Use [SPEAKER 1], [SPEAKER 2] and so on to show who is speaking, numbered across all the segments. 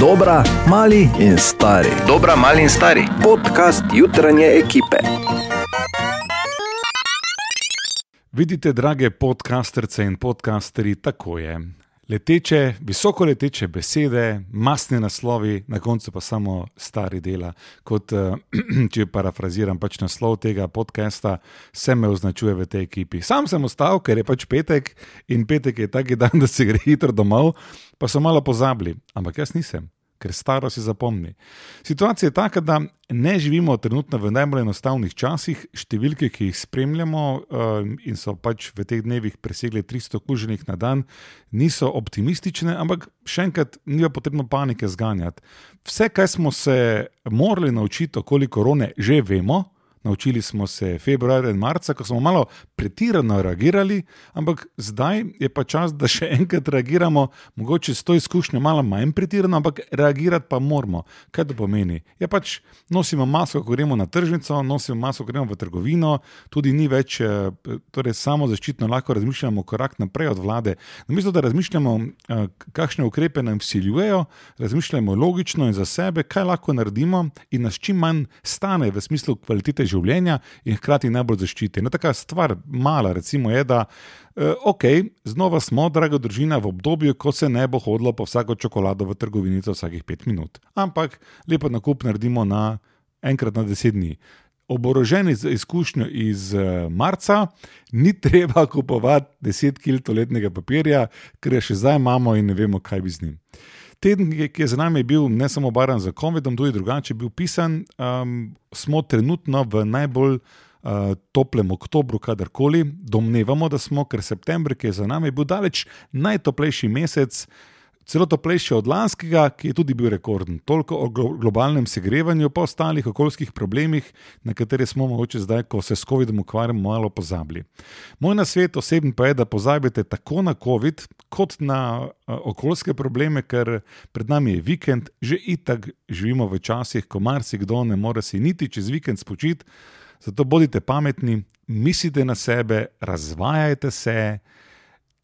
[SPEAKER 1] Dobra, mali in stari.
[SPEAKER 2] Dobra, mali in stari.
[SPEAKER 1] Podcast jutranje ekipe.
[SPEAKER 3] Vidite, drage podcasterce in podcasterji, tako je. Leteče, visoko leteče besede, masne naslovi, na koncu pa samo stari dela. Kot, eh, če parafraziram pač naslov tega podcasta, se me označuje v tej ekipi. Sam sem ostal, ker je pač petek in petek je taki dan, da se gre hitro domov, pa so malo pozabili, ampak jaz nisem ker staro si zapomni. Situacija je taka, da ne živimo trenutno v najbolj enostavnih časih. Številke, ki jih spremljamo um, in so pač v teh dnevih presegle 300 kuženih na dan, niso optimistične, ampak še enkrat, ni pa potrebno panike zganjati. Vse, kar smo se morali naučiti okoli korone, že vemo. Naučili smo se februarja in marca, ko smo malo pretirano reagirali, ampak zdaj je pa čas, da še enkrat reagiramo, mogoče s to izkušnjo malo manj pretirano, ampak reagirati pa moramo. Kaj to pomeni? Je pač nosimo masko, ko gremo na tržnico, nosimo masko, ko gremo v trgovino, tudi ni več eh, torej samo zaščitno, lahko razmišljamo korak naprej od vlade. Namesto da razmišljamo, eh, kakšne ukrepe nam siljujejo, razmišljamo logično in za sebe, kaj lahko naredimo in nas čim manj stane v smislu kvalitete življenja in hkrati najbolj zaščiti. Ena taka stvar, mala, recimo, je, da eh, ok, znova smo, draga družina, v obdobju, ko se ne bo hodilo po vsako čokolado v trgovini za vsakih pet minut. Ampak lepo nakup naredimo na enkrat na deset dni oboroženi z izkušnjo iz eh, marca, ni treba kupovati 10 kg toaletnega papirja, ker ga še zdaj imamo in ne vemo, kaj bi z njim. Teden, ki je- ki je za nami bil ne samo baran za COVID-om, tudi drugače bil pisan, um, smo trenutno v najbolj uh, toplem oktobru, kadarkoli. Domnevamo, da smo, ker september, ki je za nami, bil daleč najtoplejši mesec celo toplejši od lanskega, ki je tudi bil rekorden. Toliko o glo- globalnem segrevanju, pa ostalih okoljskih problemih, na katere smo mogoče zdaj, ko se s COVID-om ukvarjamo, malo pozabili. Moj nasvet osebno pa je, da pozabite tako na COVID, kot na eh, okoljske probleme, ker pred nami je vikend, že itak živimo v časih, ko marsikdo ne more si niti čez vikend spočiti. Zato bodite pametni, mislite na sebe, razvajajte se,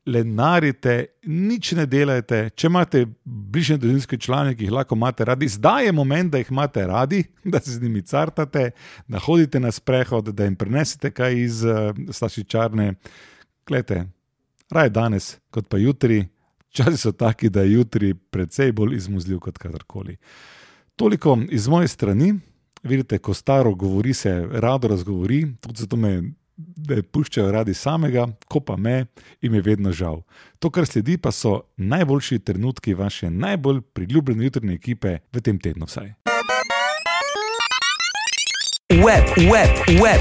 [SPEAKER 3] lenarite, nič ne delajte. Če imate bližnje družinske člane, ki jih lahko imate radi, zdaj je moment, da jih imate radi, da se z njimi cartate, da hodite na sprehod, da jim prenesete kaj iz uh, slašičarne. Glejte, raje danes, kot pa jutri. Časi so taki, da je jutri precej bolj izmuzljiv kot kadarkoli. Toliko iz moje strani. Vidite, ko staro govori, se rado razgovori, tudi zato me ne puščajo radi samega, ko pa me, jim je vedno žal. To, kar sledi, pa so najboljši trenutki vaše najbolj priljubljene jutrne ekipe v tem tednu vsaj.
[SPEAKER 1] Web, web, web,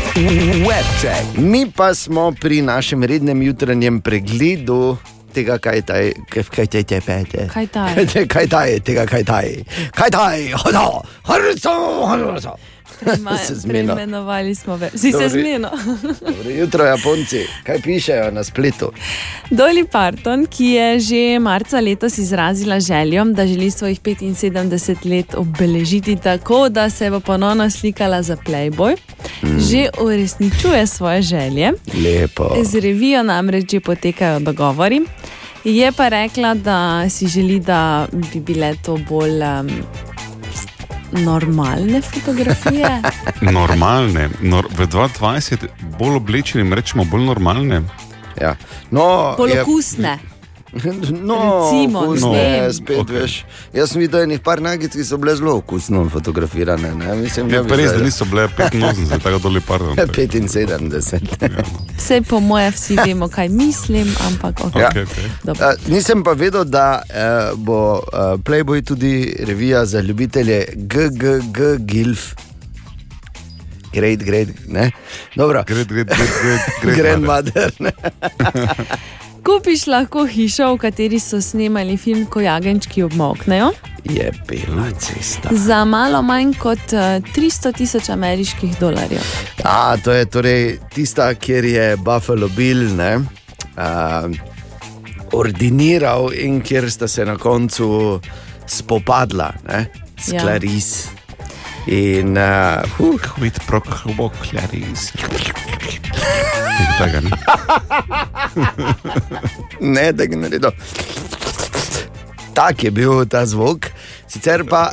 [SPEAKER 1] webček.
[SPEAKER 4] Mi pa smo pri našem rednem jutranjem pregledu tega, kaj taj, kaj kaj taj, taj, taj, taj.
[SPEAKER 5] Kaj taj?
[SPEAKER 4] kaj taj, tega, kaj taj, kaj taj, hodo, hodo, hodo.
[SPEAKER 5] Prema-
[SPEAKER 4] Se zmena.
[SPEAKER 5] Preimenovali smo več, si
[SPEAKER 4] Dobro.
[SPEAKER 5] se zmenil.
[SPEAKER 4] Dobro jutro, Japonci, kaj pišejo na spletu?
[SPEAKER 5] Dolly Parton, ki je že marca letos izrazila željo, da želi svojih 75 let obeležiti tako, da se bo ponovno slikala za Playboy,
[SPEAKER 4] Mm.
[SPEAKER 5] že uresničuje svoje želje.
[SPEAKER 4] Lepo.
[SPEAKER 5] Z revijo namreč že potekajo dogovori. Je pa rekla, da si želi, da bi bile to bolj um, normalne fotografije.
[SPEAKER 3] Normalne, nor, v 2020 bolj oblečenim rečemo bolj normalne.
[SPEAKER 4] Ja. No,
[SPEAKER 5] Bolj
[SPEAKER 4] je-
[SPEAKER 5] okusne.
[SPEAKER 4] No,
[SPEAKER 5] Recimo, ne
[SPEAKER 4] okusno
[SPEAKER 5] vem.
[SPEAKER 4] je spet,
[SPEAKER 3] Okej.
[SPEAKER 4] okay. veš. Jaz sem videl nekaj par nagic, ki so bile zelo okusno fotografirane. Ne? Mislim, ja,
[SPEAKER 3] Je
[SPEAKER 4] bi
[SPEAKER 3] Ja, pa res,
[SPEAKER 4] zdaj-
[SPEAKER 3] da niso bile 85, tako dol je pardon.
[SPEAKER 4] 75.
[SPEAKER 3] Ja.
[SPEAKER 5] Vse po moje vsi vemo, kaj mislim, ampak ok.
[SPEAKER 4] Ja.
[SPEAKER 3] Okay, okay.
[SPEAKER 5] Dobro.
[SPEAKER 4] Eh, Nisem pa vedel, da eh, bo eh, Playboy tudi revija za ljubitelje GGG Gilf. Great, great, ne? Dobro.
[SPEAKER 3] Gre, gre, gre, gre, gre.
[SPEAKER 4] Grandmother. ne?
[SPEAKER 5] Kupiš lahko hišo, v kateri so snemali film Ko jagenčki obmoknejo,
[SPEAKER 4] Je bila cesta.
[SPEAKER 5] za malo manj kot eh, 300 tisoč ameriških dolarjev.
[SPEAKER 4] A, to je torej tista, kjer je Buffalo Bill ne, a, ordiniral in kjer sta se na koncu spopadla ne, s
[SPEAKER 5] Ja.
[SPEAKER 4] ja. Clarice. In, uh, huh,
[SPEAKER 3] Hvit prokhbo klariz. Tega ne.
[SPEAKER 4] ne, da ga naredim. Tak je bil ta zvok. Sicer pa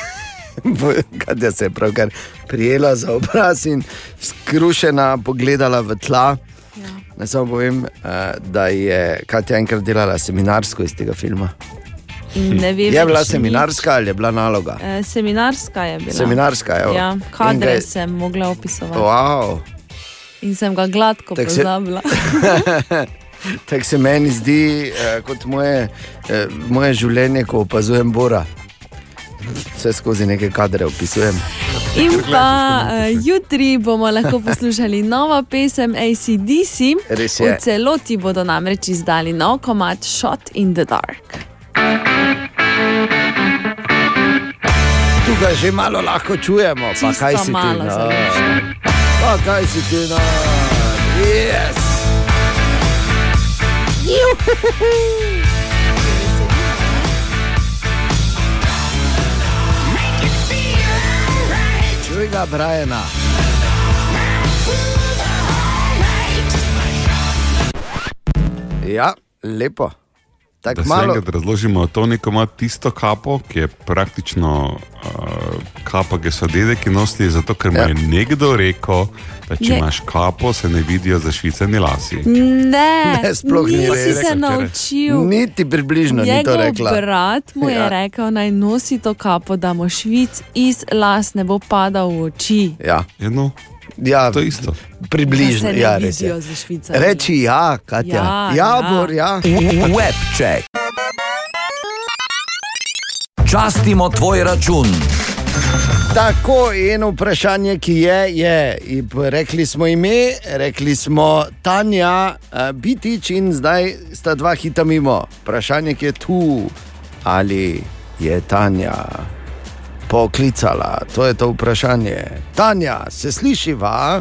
[SPEAKER 4] Katja se je pravkar prijela za obraz in skrušena pogledala v tla.
[SPEAKER 5] Ja.
[SPEAKER 4] Naj samo povem, eh, da je Katja enkrat delala seminarsko iz tega filma.
[SPEAKER 5] In Ne ve
[SPEAKER 4] Je
[SPEAKER 5] več
[SPEAKER 4] bila
[SPEAKER 5] nič.
[SPEAKER 4] seminarska ali je bila naloga?
[SPEAKER 5] Eh, Seminarska je bila.
[SPEAKER 4] Seminarska je.
[SPEAKER 5] Ja, kadre sem mogla opisovati
[SPEAKER 4] Wow.
[SPEAKER 5] in sem ga gladko
[SPEAKER 4] Tako se-
[SPEAKER 5] pozabila.
[SPEAKER 4] Tako se meni zdi, eh, kot moje, eh, moje življenje, ko opazujem Bora. Vse skozi neke kadre opisujem.
[SPEAKER 5] In pa eh, jutri bomo lahko poslušali novo pesem ACDC.
[SPEAKER 4] Res je.
[SPEAKER 5] V celoti bodo namreč izdali nov komat Shot in the Dark.
[SPEAKER 4] Tukaj že malo lahko čujemo, pa
[SPEAKER 5] Čisto
[SPEAKER 4] kaj si ti
[SPEAKER 5] malo
[SPEAKER 4] na.
[SPEAKER 5] zališno.
[SPEAKER 4] Pa kaj si ti na. Yes. Čuj ga, Brajena. Ja, lepo.
[SPEAKER 3] Da
[SPEAKER 4] Tako
[SPEAKER 3] se
[SPEAKER 4] malo.
[SPEAKER 3] enkrat razložimo, to neko ima tisto kapo, ki je praktično uh, kapa, ki so dedeki nosili, zato ker mu
[SPEAKER 4] Ja.
[SPEAKER 3] je nekdo rekel, da če
[SPEAKER 5] Je-
[SPEAKER 3] imaš kapo, se ne vidijo za švicani lasi.
[SPEAKER 5] Ne,
[SPEAKER 4] Ne, sploh ni
[SPEAKER 5] nisi
[SPEAKER 4] rekel,
[SPEAKER 5] se
[SPEAKER 3] ker-
[SPEAKER 5] naučil.
[SPEAKER 4] Niti približno no, ni to
[SPEAKER 5] Njegov
[SPEAKER 4] rekla.
[SPEAKER 5] brat mu je
[SPEAKER 4] Ja.
[SPEAKER 5] ja. rekel, naj nosi to kapo, da mu švic iz las ne bo padal v oči.
[SPEAKER 4] Ja,
[SPEAKER 3] Jedno,
[SPEAKER 4] ja
[SPEAKER 3] to je isto.
[SPEAKER 5] Da se
[SPEAKER 4] približno.
[SPEAKER 5] ne
[SPEAKER 4] Ja, res
[SPEAKER 5] vidijo
[SPEAKER 4] je.
[SPEAKER 5] za švicarje.
[SPEAKER 4] Reči ja, Katja.
[SPEAKER 5] Ja,
[SPEAKER 4] ja,
[SPEAKER 5] ja.
[SPEAKER 4] Bor, ja.
[SPEAKER 1] Webček. Častimo tvoj račun.
[SPEAKER 4] Tako eno vprašanje, ki je, je. In p- Rekli smo ime, rekli smo Tanja, eh, Bitič in zdaj sta dva hita mimo. Vprašanje, ki je tu, ali je Tanja poklicala. To je to vprašanje. Tanja, se slišiva?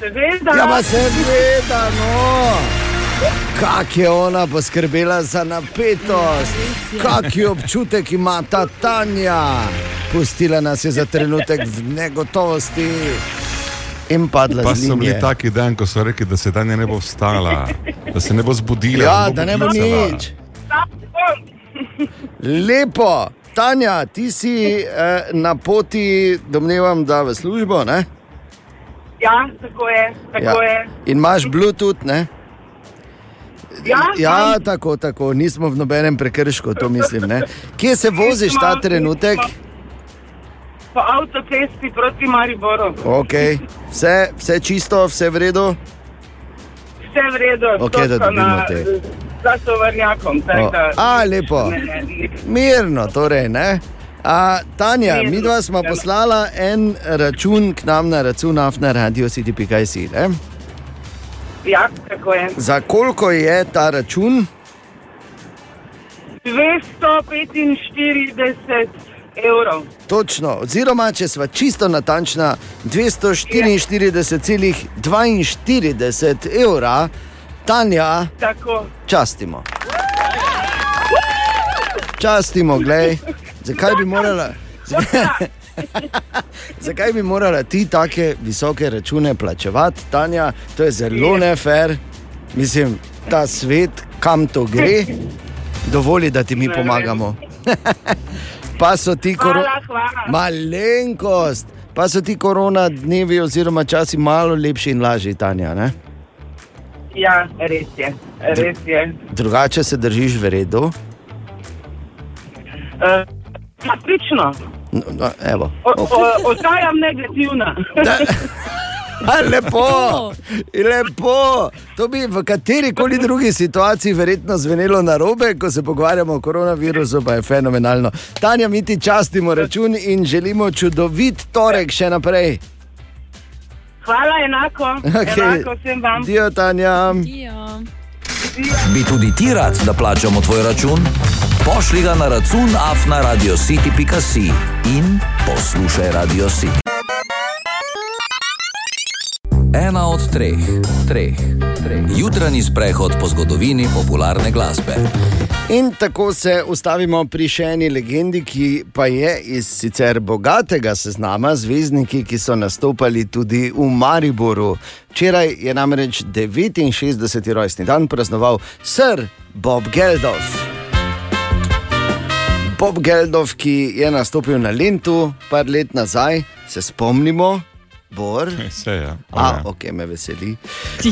[SPEAKER 2] Seveda,
[SPEAKER 4] Ja, pa seveda, no. Kak je ona poskrbela za napetost, kakšen občutek ima ta Tanja. Pustila nas je za trenutek v negotovosti in padla
[SPEAKER 3] Pa
[SPEAKER 4] z
[SPEAKER 3] so bili
[SPEAKER 4] linije.
[SPEAKER 3] taki dan, ko so rekli, da se Tanja ne bo vstala, da se ne bo zbudila.
[SPEAKER 4] Ja, da ne bo
[SPEAKER 3] poklicala.
[SPEAKER 4] nič.
[SPEAKER 2] tako.
[SPEAKER 4] Lepo. Tanja, ti si eh, na poti, domnevam, da v službo. Ne?
[SPEAKER 2] Ja, tako je. Tako ja. je.
[SPEAKER 4] In imaš Bluetooth, ne?
[SPEAKER 2] Ja,
[SPEAKER 4] Ja,
[SPEAKER 2] imam.
[SPEAKER 4] tako, tako, nismo v nobenem prekršku, to mislim. Ne? Kje se voziš ta trenutek?
[SPEAKER 2] Po avtocesti proti Mariboru.
[SPEAKER 4] Okay. Vse, vse čisto, vse v redu.
[SPEAKER 2] Vse v redu,
[SPEAKER 4] Okej, da
[SPEAKER 2] to so
[SPEAKER 4] dobimo
[SPEAKER 2] na,
[SPEAKER 4] te.
[SPEAKER 2] za sovrnjakom.
[SPEAKER 4] O,
[SPEAKER 2] tako da-
[SPEAKER 4] a, lepo.
[SPEAKER 2] Ne, ne, ne.
[SPEAKER 4] Mirno, torej. Ne? A, Tanja,
[SPEAKER 2] Mirno,
[SPEAKER 4] mi dva smo
[SPEAKER 2] ja.
[SPEAKER 4] poslala en račun k nam na račun afna radio city.si.
[SPEAKER 2] Ja, tako je.
[SPEAKER 4] Za koliko je ta račun?
[SPEAKER 2] 245 evrov.
[SPEAKER 4] Točno, oziroma če smo čisto natančna, 244,42 evra, Tanja,
[SPEAKER 2] Tako.
[SPEAKER 4] častimo. Častimo, glej, zakaj bi morala. Zakaj bi morala ti tako visoke račune plačevati, Tanja? To je zelo nefer. Mislim, ta svet, kam to gre, dovoli, da ti mi pomagamo. pa so ti korona.
[SPEAKER 2] Hvala, hvala.
[SPEAKER 4] Malenkost, pa so ti korona dnevi, oziroma časi malo lepši in lažji, Tanja. Ne?
[SPEAKER 2] Ja, res je. Res je.
[SPEAKER 4] Drugače se držiš v redu.
[SPEAKER 2] Uh, Naprično.
[SPEAKER 4] No, no, evo.
[SPEAKER 2] Ostajam negativna.
[SPEAKER 4] A, lepo, lepo. To bi v kateri koli drugi situaciji verjetno zvenelo na robe, ko se pogovarjamo o koronavirusu, pa je fenomenalno. Tanja, mi ti častimo račun in želimo čudovit torek še naprej.
[SPEAKER 2] Hvala enako.
[SPEAKER 4] Okej.
[SPEAKER 2] Enako sem vam.
[SPEAKER 4] Dio, Tanja.
[SPEAKER 5] Ja.
[SPEAKER 1] Bi tudi ti rad, da plačamo tvoj račun? Pošli ga na račun afna radio city.si in poslušaj Radio City. Ena od treh, treh, treh. Jutranji sprehod po zgodovini popularne glasbe.
[SPEAKER 4] In tako se ustavimo pri še eni legendi, ki pa je iz sicer bogatega seznama zvezdniki, ki so nastopali tudi v Mariboru. Včeraj je namreč 69. rojstni dan praznoval Sir Bob Geldof. Bob Geldov, ki je nastopil na Lendu par let nazaj, se spomnimo, Bor.
[SPEAKER 3] Se je.
[SPEAKER 4] A, ok, me veseli.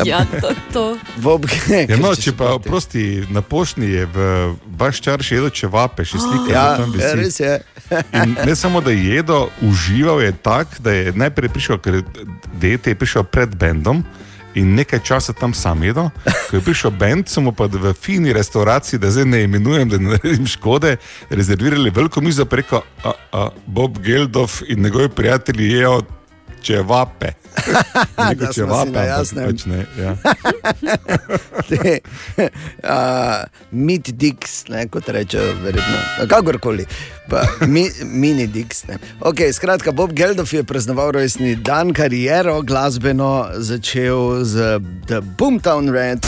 [SPEAKER 5] Ja, to, to.
[SPEAKER 4] Bob Geldov.
[SPEAKER 3] Ja, no, če pa oprosti, na pošti je v vaš čar še jedel čevape, še slike
[SPEAKER 4] Ja,
[SPEAKER 3] za tam
[SPEAKER 4] ja,
[SPEAKER 3] visi.
[SPEAKER 4] res je.
[SPEAKER 3] In ne samo, da je jedel, užival je tako, da je najprej prišel, ker dete je prišel pred bendom. In nekaj časa tam sam jedel, ko je prišel bend, so mu pa v fini restauraciji, da zdaj ne imenujem, da ne naredim škode, rezervirali veliko mizo preko a, a, Bob Geldov in njegovi prijatelji jejo čevape.
[SPEAKER 4] Da smo
[SPEAKER 3] Neko
[SPEAKER 4] si na jasnem.
[SPEAKER 3] pač ne. Ja.
[SPEAKER 4] Te, a, Meat Dix, ne, kot rečejo, verjetno. Kakorkoli, pa, mi, mini Dix. Ne. Okay, skratka, Bob Geldof je praznoval rojstni dan, kariero glasbeno začel z The Boomtown Red.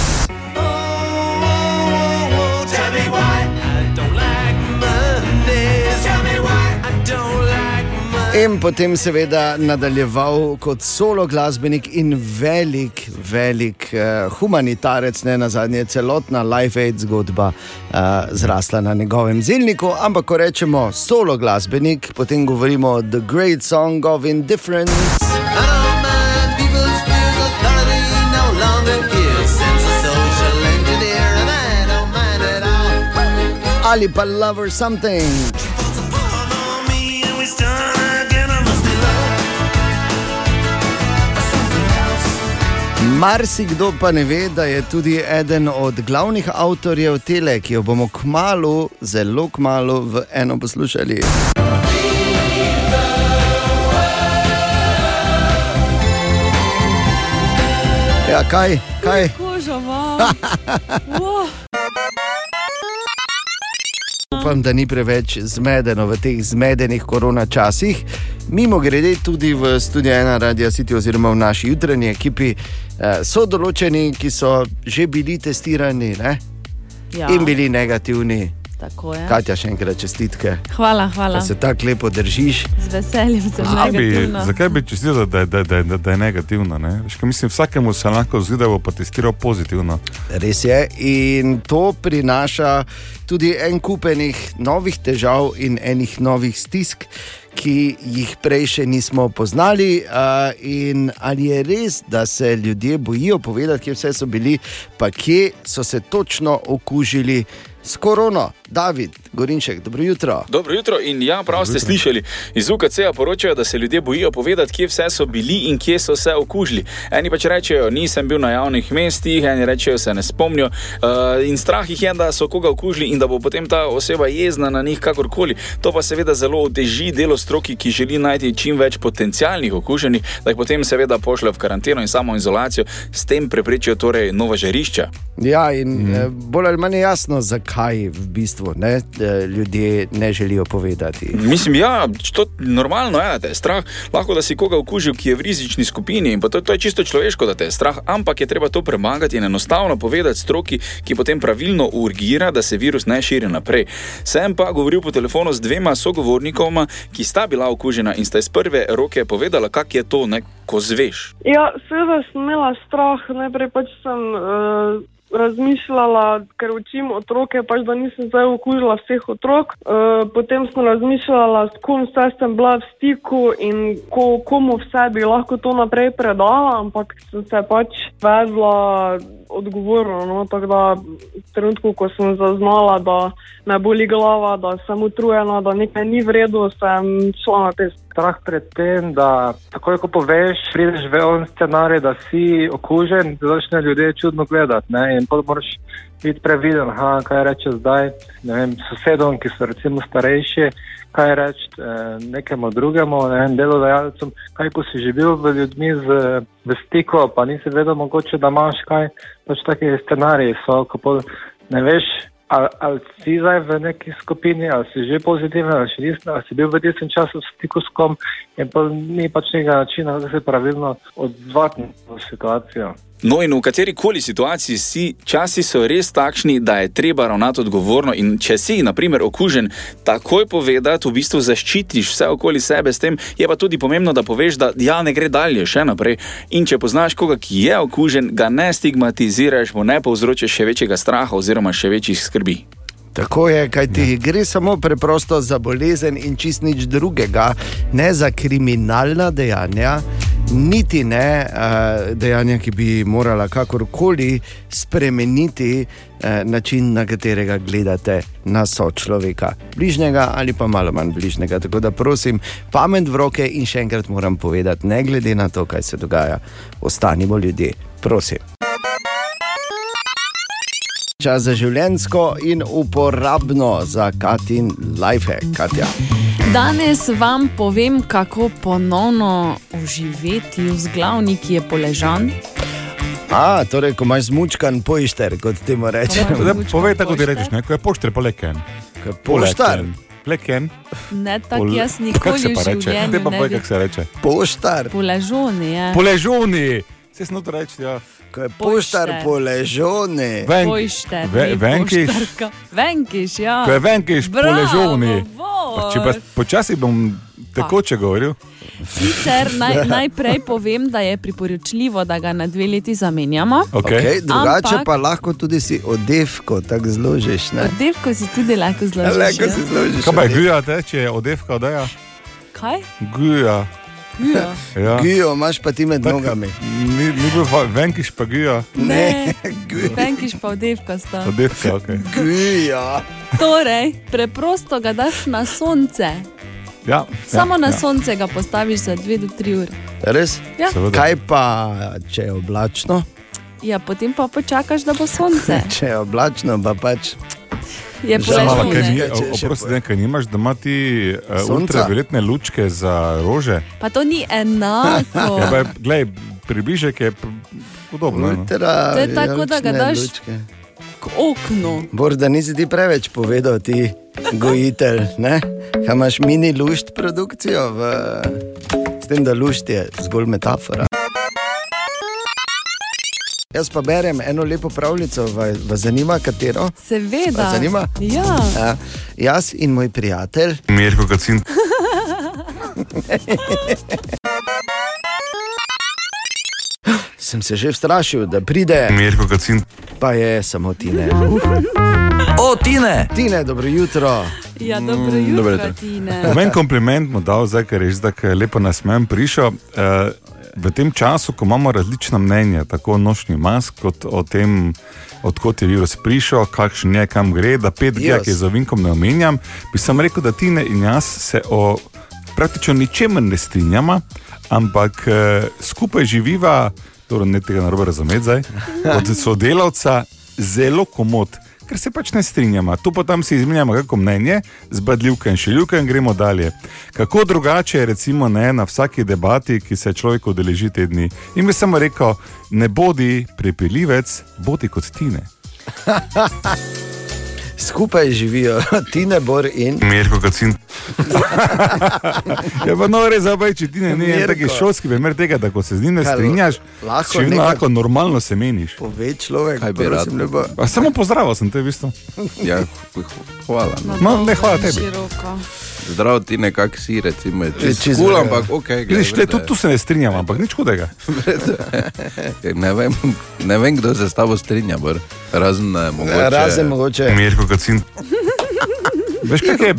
[SPEAKER 6] Tell me why I don't like Mondays. Tell me why I don't like Mondays.
[SPEAKER 4] In potem seveda nadaljeval kot solo glasbenik in velik, velik uh, humanitarec, ne na zadnje, celotna Life Aid zgodba uh, zrasla na njegovem zelniku. Ampak, ko rečemo solo glasbenik, potem govorimo o The Great Song of Indifference.
[SPEAKER 6] I don't mind people's fears. Authority no longer gives. Since a social engineer, and I don't mind at all.
[SPEAKER 4] ali pa Love or Something.
[SPEAKER 6] Folks are pulling on me, and we start again. I must be loved by something else.
[SPEAKER 4] Marsikdo pa ne ve, da je tudi eden od glavnih avtorjev tele, ki jo bomo kmalo, zelo kmalo v eno poslušali. Ja, kaj, kaj?
[SPEAKER 5] Kožo, wow. wow.
[SPEAKER 4] Upam, da ni preveč zmedeno v teh zmedenih korona časih. Mimo grede, tudi v studiu ena radio City, oziroma v naši jutranji ekipi, eh, so določeni, ki so že bili testirani ne?
[SPEAKER 5] Ja,
[SPEAKER 4] in bili negativni.
[SPEAKER 5] tako je.
[SPEAKER 4] Katja, še enkrat čestitke,
[SPEAKER 5] Hvala,
[SPEAKER 4] da
[SPEAKER 5] hvala.
[SPEAKER 4] se tako lepo držiš.
[SPEAKER 5] Z veseljem sem
[SPEAKER 3] Zakaj Pač bi,
[SPEAKER 5] negativna.
[SPEAKER 3] zakaj bi čestila, da, je- da, da, da, da je negativno? Ne? Veš, kaj mislim, vsakemu se lahko zdi, da bo pa testiral pozitivno.
[SPEAKER 4] Res je. In to prinaša tudi en kupenih novih težav in enih novih stisk, ki jih prej še nismo poznali. Uh, in ali je res, da se ljudje bojijo povedati, kje vse so bili, pa kje so se točno okužili s korono? David, Gorinček, dobro jutro.
[SPEAKER 7] Dobro jutro in ja, prav ste slišali. Iz UKC-ja poročajo, da se ljudje bojijo povedati, kje vse so bili in kje so se okužili. Eni pač rečejo, nisem bil na javnih mestih, eni rečejo, se ne spomnijo. Uh, in strah jih je, da so koga okužili in da bo potem ta oseba jezna na njih kakorkoli. To pa seveda zelo oteži delo stroki, ki želi najti čim več potencijalnih okuženih, da jih potem seveda pošlje v karanteno in samo izolacijo, s tem preprečijo torej nova žarišča.
[SPEAKER 4] Ja, in mm. eh, bolj ali manj je jasno, zakaj v bistvu ne, eh, ljudje ne želijo povedati.
[SPEAKER 7] Mislim, ja, to je normalno, ja, da te je strah. Lahko da si koga okužil, ki je v rizični skupini in pa to, to je čisto človeško, da te je strah, ampak je treba to premagati in enostavno povedati stroki, ki potem pravilno urgira, da se virus ne širi naprej. Sem pa govoril po telefonu z dvema sogovornikoma, ki sta bila okužena in sta iz prve roke povedala, kak je to, ne, ko zveš.
[SPEAKER 8] Ja, seveda sem imela strah, najprej pač sem uh, razmišljala, ker učim otroke, pač da nisem zdaj okužila vseh otrok. Uh, potem sem razmišljala, s kom vse sem bila v stiku in ko, komu vse bi lahko to naprej predala, ampak sem se pač vedla odgovorno. No, tako da v trenutku, ko sem zaznala, da me boli glava, da sem utrujena, da nekaj ni v redu, sem šla na test.
[SPEAKER 9] strah pred tem, da takoj, ko poveš, prideš v on scenarij, da si okužen, da začne ljudje čudno gledati. Ne? In potem moraš biti previden, aha, kaj reče zdaj ne vem, sosedom, ki so recimo starejši, kaj reči eh, nekemu drugemu, ne vem, delodajalcem, kaj ko si že bil z ljudmi z, v stiku, pa nisi vedel mogoče, da imaš kaj, pač taki scenariji so, ko pol, ne veš, Ali, ali si zdaj v neki skupini, ali si že pozitiven, ali še nisi, ali si bil v tistem času v stiku s kom, in pa ni pač nekega načina, da se pravilno odzvati na situacijo.
[SPEAKER 7] No, in v kateri koli situaciji si, časi so res takšni, da je treba ravnati odgovorno. In če si, na primer, okužen, takoj povedati, v bistvu zaščitiš vse okoli sebe, s tem je pa tudi pomembno, da poveš, da ja, ne gre dalje, še naprej. In če poznaš koga, ki je okužen, ga ne stigmatiziraš, mu ne povzročaš še večjega straha oziroma še večjih skrbi.
[SPEAKER 4] Tako je, kaj ti ja. gre samo preprosto za bolezen in čist nič drugega, ne za kriminalna dejanja, niti ne uh, dejanja, ki bi morala kakorkoli spremeniti uh, način, na katerega gledate na sočloveka, bližnjega ali pa malo manj bližnjega. Tako da prosim, pamet v roke in še enkrat moram povedati, ne glede na to, kaj se dogaja, ostanimo ljudje, prosim. Čas za življensko in uporabno za Katin Life, Katja.
[SPEAKER 5] Danes vam povem, kako ponovno oživeti vzglavni, ki je poležan.
[SPEAKER 4] A, torej, ko imaš zmučkan pošter, kot temu rečemo.
[SPEAKER 3] Zdaj,
[SPEAKER 5] Bučka
[SPEAKER 3] povej tako, kot ti
[SPEAKER 5] pošter.
[SPEAKER 3] rečeš, ne? ko je pošter, pa leken.
[SPEAKER 4] Ko je poštar.
[SPEAKER 3] Leken.
[SPEAKER 5] Ne tako jaz nikoli v
[SPEAKER 3] Te pa
[SPEAKER 5] življenju ne
[SPEAKER 3] povej,
[SPEAKER 5] bi Eh.
[SPEAKER 3] kako se reče.
[SPEAKER 4] Poštar,
[SPEAKER 5] poležon. ja. Je.
[SPEAKER 3] Poležuni! Se snotra reči, ja.
[SPEAKER 4] ko je poštar
[SPEAKER 5] Pošter.
[SPEAKER 4] poležone.
[SPEAKER 3] Venk-
[SPEAKER 5] Pošte,
[SPEAKER 3] ve- venkiš.
[SPEAKER 5] Venkiš, ja.
[SPEAKER 3] Ko je venkiš,
[SPEAKER 5] Bravo,
[SPEAKER 3] poležuni.
[SPEAKER 5] Boris.
[SPEAKER 3] Pa Če pa počasi bom tekoče govoril,
[SPEAKER 5] Sicer naj, najprej povem, da je priporočljivo, da ga na dve leti zamenjamo.
[SPEAKER 3] okay.
[SPEAKER 4] Okay, drugače
[SPEAKER 5] Ampak-
[SPEAKER 4] Ampak... pa lahko tudi si odevko tako zložiš. Ne?
[SPEAKER 5] Devko si tudi lahko
[SPEAKER 4] Le, ko
[SPEAKER 5] zložiš.
[SPEAKER 4] si
[SPEAKER 5] ja.
[SPEAKER 4] zložiš.
[SPEAKER 3] kaj pa je
[SPEAKER 4] odevko.
[SPEAKER 3] guja, te, če je odevka odaja?
[SPEAKER 5] Kaj?
[SPEAKER 3] Guja.
[SPEAKER 5] Gujo.
[SPEAKER 3] Ja.
[SPEAKER 4] Gijo imaš pa ti med nogami.
[SPEAKER 3] Ni, ni bil fa- venkiš, pa guja.
[SPEAKER 5] Ne,
[SPEAKER 4] Gujo.
[SPEAKER 5] venkiš pa odevka sta.
[SPEAKER 3] Odevka, ok.
[SPEAKER 4] Gijo.
[SPEAKER 5] Torej, preprosto ga daš na sonce.
[SPEAKER 3] Ja,
[SPEAKER 5] Samo na
[SPEAKER 3] ja, ja.
[SPEAKER 5] sonce ga postaviš za 2 do 3 ure.
[SPEAKER 4] Res?
[SPEAKER 5] Ja.
[SPEAKER 3] Seveda.
[SPEAKER 4] Kaj pa, če je oblačno?
[SPEAKER 5] Ja, potem pa počakaš, da bo sonce.
[SPEAKER 4] Če je oblačno, pa pač
[SPEAKER 5] Je
[SPEAKER 4] Žal,
[SPEAKER 3] Mala, kaj
[SPEAKER 4] Težko ne.
[SPEAKER 5] poležone.
[SPEAKER 3] ni,
[SPEAKER 4] Če- če
[SPEAKER 3] oprosti,
[SPEAKER 4] poje.
[SPEAKER 3] ne, kaj nimaš, da ima ti uh,
[SPEAKER 4] Sonca?
[SPEAKER 3] ultravioletne lučke za rože.
[SPEAKER 5] Pa to ni enako.
[SPEAKER 3] Ja, pa, je- glej, približek je pr- podobno. no.
[SPEAKER 4] ultra.
[SPEAKER 5] To je tako, da ga
[SPEAKER 4] vijolične
[SPEAKER 5] daš-
[SPEAKER 4] lučke.
[SPEAKER 5] K oknu.
[SPEAKER 4] Borda nisi ti preveč povedal, ti gojitelj. Ne? Kaj imaš mini lušt produkcijo, v... s tem, da lušt je zgolj metafora. Jaz pa berem eno lepo pravljico, va- vas zanima katero?
[SPEAKER 5] Seveda.
[SPEAKER 4] Vas zanima?
[SPEAKER 5] Ja.
[SPEAKER 4] Ja, jaz in moj prijatelj
[SPEAKER 3] Mirko Kacin.
[SPEAKER 4] sem se že strašil, da pride,
[SPEAKER 3] Mirko Kacin.
[SPEAKER 4] pa je samo tine.
[SPEAKER 1] O, Tine!
[SPEAKER 4] Tine, dobro jutro.
[SPEAKER 5] ja, dobro
[SPEAKER 3] Mm,
[SPEAKER 5] jutro, Tine.
[SPEAKER 3] Meni kompliment mu dal, zdaj, ker je že tako lepo nasmejen prišel. Eh, V tem času, ko imamo različna mnenja, tako o nočni mask, kot o tem, odkot je virus prišel, kakšen je, kam gre, da 5G,
[SPEAKER 4] Virus.
[SPEAKER 3] ki je z ovinkom ne omenjam, bi sem rekel, da ti ne in jaz se o praktično ničemer ne strinjamo, ampak eh, skupaj živiva, torej ne tega narobe razumeti zdaj, od sodelavca zelo komod. Ker se pač ne strinjamo, tu pa tam si izmenjamo kako mnenje, zbadljivka in šiljivka in gremo dalje. Kako drugače je recimo ne, na vsaki debati, ki se človek odeleži te dni. In bi samo rekel, ne bodi prepeljivec, bodi kot tine.
[SPEAKER 4] Skupaj živijo Tine, Bor in
[SPEAKER 3] Mirko Kacin. je pa no res zabaj, če ti ne je
[SPEAKER 4] Mirko.
[SPEAKER 3] taki šolski primer tega, da ko se z njim ne
[SPEAKER 4] Kaj,
[SPEAKER 3] strinjaš,
[SPEAKER 4] lahko
[SPEAKER 3] še vedno
[SPEAKER 4] nekaj-
[SPEAKER 3] lahko normalno se meniš.
[SPEAKER 4] pove človek,
[SPEAKER 10] Kaj bi rad?
[SPEAKER 4] prosim, lepo.
[SPEAKER 3] A samo pozdravil sem te, v bistvu.
[SPEAKER 10] Ja, h- hvala. no.
[SPEAKER 3] No, ne, hvala tebi.
[SPEAKER 5] Široko.
[SPEAKER 10] Zdravo, ti nekako si, recimo, čez
[SPEAKER 4] čist
[SPEAKER 10] kul,
[SPEAKER 4] v redu.
[SPEAKER 10] ampak ok. Gre,
[SPEAKER 3] Vidiš, le,
[SPEAKER 10] vrede.
[SPEAKER 3] tudi tu se ne strinjam, ampak nič hudega.
[SPEAKER 10] ne, vem, ne vem, kdo se s tabo strinja, br. razen eh, mogoče.
[SPEAKER 4] Razen mogoče.
[SPEAKER 3] Mirko Kacin. Veš, kaj je?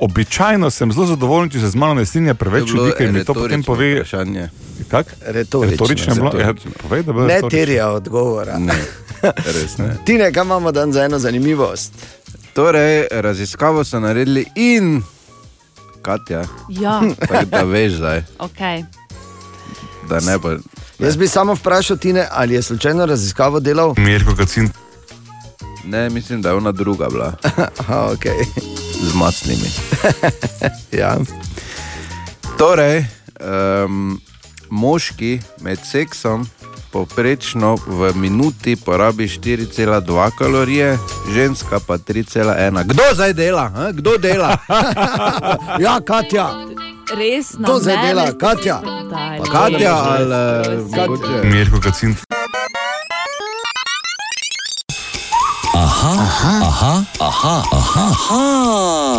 [SPEAKER 3] Običajno sem zelo zadovoljen, če se z mano ne strinja
[SPEAKER 10] je
[SPEAKER 3] preveč
[SPEAKER 10] bilo
[SPEAKER 3] ljudi, ker mi to potem
[SPEAKER 10] retorično
[SPEAKER 3] pove.
[SPEAKER 10] Vprašanje.
[SPEAKER 3] Kako?
[SPEAKER 4] Retorično.
[SPEAKER 3] Retorično je bilo. Ja,
[SPEAKER 10] Retorično.
[SPEAKER 3] povej, da bo
[SPEAKER 4] Ne
[SPEAKER 3] retorično.
[SPEAKER 4] terja odgovora.
[SPEAKER 10] Ne, res ne.
[SPEAKER 4] Tine, kaj imamo danes za eno zanimivost?
[SPEAKER 10] Torej, raziskavo so naredili in Katja,
[SPEAKER 5] Ja,
[SPEAKER 10] tako da veš zdaj,
[SPEAKER 5] ok.
[SPEAKER 10] da ne bo.
[SPEAKER 4] Jaz bi samo vprašal, Tine, ali je slučajno raziskavo delal?
[SPEAKER 3] Mirko Kacin.
[SPEAKER 10] Ne, mislim, da je ona druga bila,
[SPEAKER 4] Aha, ok.
[SPEAKER 10] z macnimi.
[SPEAKER 4] Ja.
[SPEAKER 10] Torej, um, moški med seksom poprečno v minuti porabi 4,2 kalorije, ženska pa 3,1. Kdo zdaj dela? A? Kdo dela?
[SPEAKER 4] ja, Katja,
[SPEAKER 5] Res na
[SPEAKER 4] To zdaj
[SPEAKER 5] mene
[SPEAKER 4] dela
[SPEAKER 5] ste
[SPEAKER 4] Katja.
[SPEAKER 5] se dali.
[SPEAKER 4] Pa
[SPEAKER 10] Katja ali eh,
[SPEAKER 5] Prosim.
[SPEAKER 10] mogoče?
[SPEAKER 3] Mirko Kacin.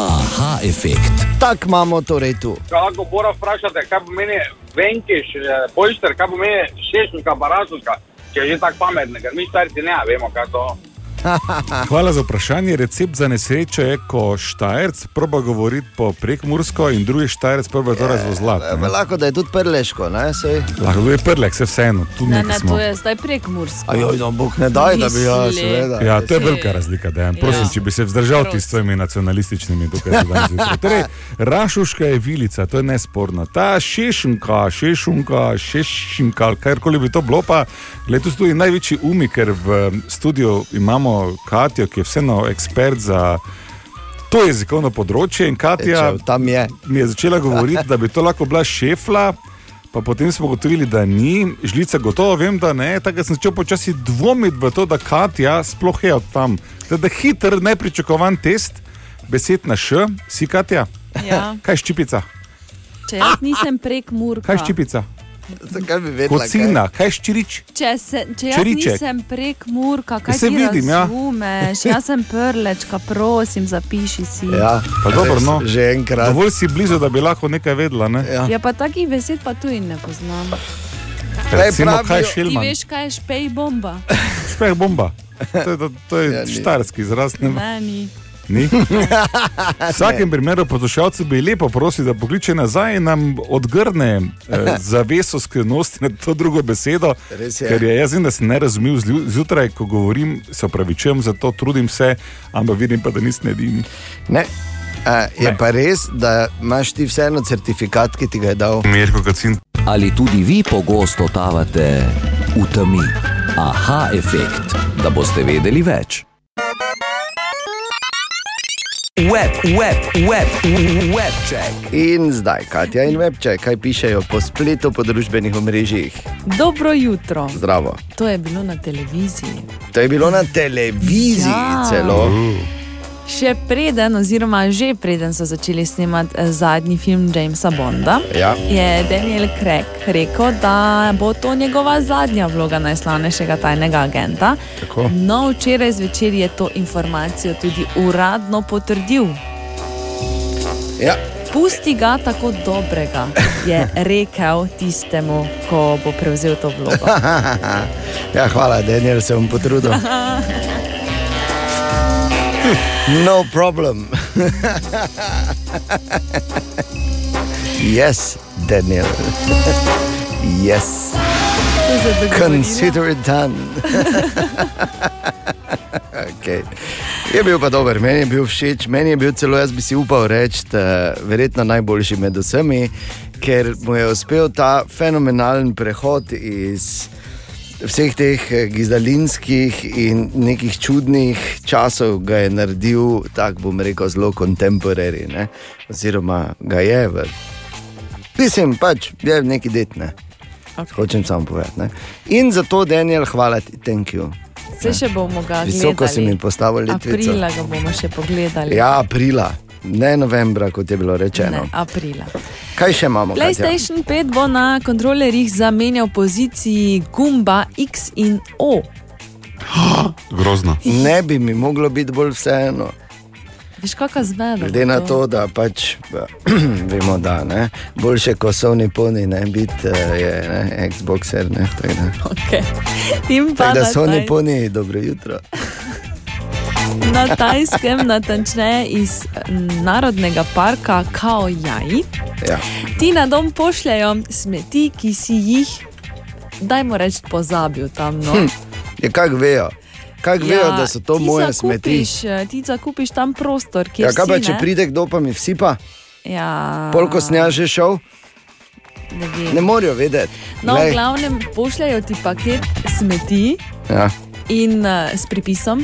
[SPEAKER 1] Aha, efekt.
[SPEAKER 4] tak imamo torej tu.
[SPEAKER 9] Kako mora vprašati, kaj pomeni venkiš, eh, pojšter, kaj pomeni šešnika, baražnika, če je že tako pametne, ker mi starci ne vemo, kaj to.
[SPEAKER 3] Hvala za vprašanje. Recept za nesrečo je, ko štajerc proba govoriti po prekmursko in drugi štajerc proba to razvozlati. ne.
[SPEAKER 4] Lahko da je tudi prleško, ne? Sej.
[SPEAKER 3] Lahko je prlek, se vseeno, tu
[SPEAKER 5] Ne,
[SPEAKER 3] ne
[SPEAKER 5] ne,
[SPEAKER 3] smo.
[SPEAKER 5] to je zdaj prek Murska.
[SPEAKER 4] Ajoj, no, Bog ne daj, da bi jaz,
[SPEAKER 5] Misli.
[SPEAKER 4] seveda.
[SPEAKER 3] Ja, to je velika razlika, da je. Prosim, če bi se vzdržal ti s svojimi nacionalističnimi tukaj danes. zjutraj. Torej, Rašuška je vilica, to je nesporno. Ta šešunka, šešunka, šešunka, ali karkoli bi to bilo, pa letos tudi največji umi, ker v studiu imamo Katijo, ki je vseeno ekspert za to jezikovno področje in Katija
[SPEAKER 10] Ja.
[SPEAKER 4] Če, tam je.
[SPEAKER 3] mi je začela govoriti, da bi to lahko bila šefla. Pa potem smo ugotovili, da ni, žlica gotovo vem, da ne. Tako da sem začel počasi dvomiti v to, da Katja sploh je od tam. Da je hiter, nepričakovan test, besed na š, si Katja.
[SPEAKER 5] Ja.
[SPEAKER 3] Kaj ščipica,
[SPEAKER 5] Če jaz nisem prek Murka,
[SPEAKER 3] kaj ščipica,
[SPEAKER 4] Zakaj bi vedela? kaj?
[SPEAKER 3] kocina, kaj ščirič.
[SPEAKER 5] če, se, če jaz
[SPEAKER 3] Čeriček.
[SPEAKER 5] nisem prek Murka, kaj
[SPEAKER 3] Se
[SPEAKER 5] ti
[SPEAKER 3] vidim, ja.
[SPEAKER 5] razumeš? Jaz sem prlečka, prosim, zapiši si.
[SPEAKER 4] Ja,
[SPEAKER 3] Pa dobro,
[SPEAKER 4] res,
[SPEAKER 3] no.
[SPEAKER 4] Že enkrat.
[SPEAKER 3] Dovolj si blizu, da bi lahko nekaj vedela. Ne?
[SPEAKER 5] Ja, pa takih besed pa tudi ne poznam.
[SPEAKER 4] Kaj
[SPEAKER 3] Recimo, kaj je
[SPEAKER 4] pravijo?
[SPEAKER 5] Ti
[SPEAKER 3] šelman,
[SPEAKER 5] veš, kaj je špej bomba?
[SPEAKER 3] špeh bomba. To je, to je
[SPEAKER 4] Ja, ni.
[SPEAKER 3] štarski izraz. Ne?
[SPEAKER 5] Ne, ni.
[SPEAKER 3] Ni? V vsakem primeru poslušalcev bi lepo prosil, da pokliče nazaj in nam odgrne eh, zaveso skrivnosti na to drugo besedo.
[SPEAKER 4] Res je.
[SPEAKER 3] Ker je jaz vem, da sem nerazumljiv zlju- zjutraj, ko govorim, se opravičujem za to, trudim se, ampak vidim pa, da nisem edini.
[SPEAKER 4] Ne. A, je
[SPEAKER 3] Ne.
[SPEAKER 4] ne. pa res, da imaš ti vseeno certifikat, ki ti ga je dal.
[SPEAKER 3] Mirko Kacin.
[SPEAKER 1] Ali tudi vi pogosto totavate v temi? Aha, efekt, da boste vedeli več. Web, web, web, web, check.
[SPEAKER 4] In zdaj, Katja in Webče, kaj pišejo po spletu, po družbenih omrežjih.
[SPEAKER 5] Dobro jutro.
[SPEAKER 4] Zdravo.
[SPEAKER 5] To je bilo na televiziji.
[SPEAKER 4] To je bilo na televiziji
[SPEAKER 5] Ja.
[SPEAKER 4] ja. celo.
[SPEAKER 5] Še preden, oziroma že preden so začeli snemati eh, zadnji film Jamesa Bonda,
[SPEAKER 4] Ja.
[SPEAKER 5] je Daniel Craig rekel, da bo to njegova zadnja vloga najslavnejšega tajnega agenta.
[SPEAKER 4] Tako.
[SPEAKER 5] No, včeraj zvečer je to informacijo tudi uradno potrdil.
[SPEAKER 4] Ja.
[SPEAKER 5] Pusti ga tako dobrega, je rekel tistemu, ko bo prevzel to vlogo.
[SPEAKER 4] ja, hvala, Daniel, se bom potrudil. No problem. yes, Daniel. yes.
[SPEAKER 5] To se dogaja.
[SPEAKER 4] Consider it done. okay. Je bil pa dober, meni je bil všeč, meni je bil celo, jaz bi si upal reči, eh, verjetno najboljši med vsemi, ker mu je uspel ta fenomenalen prehod iz vseh teh eh, gizdalinskih in nekih čudnih časov, ga je naredil, tako bom rekel, zelo kontemporari, ne? oziroma ga je. v- Mislim, pač je neki detne. Okay. Hočem samo povedati. Ne? In zato, Daniel, hvala ti, thank you.
[SPEAKER 5] Se še bomo ga
[SPEAKER 4] Visoko si mi
[SPEAKER 5] gledali.
[SPEAKER 4] postavil letvico.
[SPEAKER 5] Aprila ga bomo še pogledali.
[SPEAKER 4] Ja, no. aprila. Ne novembra, kot je bilo rečeno.
[SPEAKER 5] Ne, aprila.
[SPEAKER 4] Kaj še imamo? Katja?
[SPEAKER 5] PlayStation 5 bo na kontrolerjih zamenjal poziciji gumba X in O.
[SPEAKER 3] Grozno.
[SPEAKER 4] Ne bi mi moglo biti bolj vseeno.
[SPEAKER 5] Veš, kakšna zmeda.
[SPEAKER 4] Glede na to, da pač vemo, da ne. Boljše, ko so oni polni, ne biti, eh, je ne, Xboxer. Ne, tako da.
[SPEAKER 5] Okay. Tim pa
[SPEAKER 4] Tako da
[SPEAKER 5] na,
[SPEAKER 4] so oni
[SPEAKER 5] taj,
[SPEAKER 4] polni, dobro jutro.
[SPEAKER 5] na tajskem, natančneje iz mm, narodnega parka Kao Jai,
[SPEAKER 4] Ja.
[SPEAKER 5] ti na dom pošljajo smeti, ki si jih, dajmo reči, pozabil tam. No.
[SPEAKER 4] Je kako vejo? Kako ja, Hm, vejo, da so to
[SPEAKER 5] ti
[SPEAKER 4] moje smeti?
[SPEAKER 5] zakupiš, smeti. Ti zakupiš tam prostor, kjer
[SPEAKER 4] Ja, kaj pa,
[SPEAKER 5] si,
[SPEAKER 4] če
[SPEAKER 5] ne?
[SPEAKER 4] pride kdo pa mi vsipa,
[SPEAKER 5] Ja,
[SPEAKER 4] polko snja že šel?
[SPEAKER 5] ne vem.
[SPEAKER 4] Ne morajo vedeti.
[SPEAKER 5] No,
[SPEAKER 4] Glej.
[SPEAKER 5] v glavnem pošljajo ti paket smeti
[SPEAKER 4] Ja,
[SPEAKER 5] in uh, s pripisom,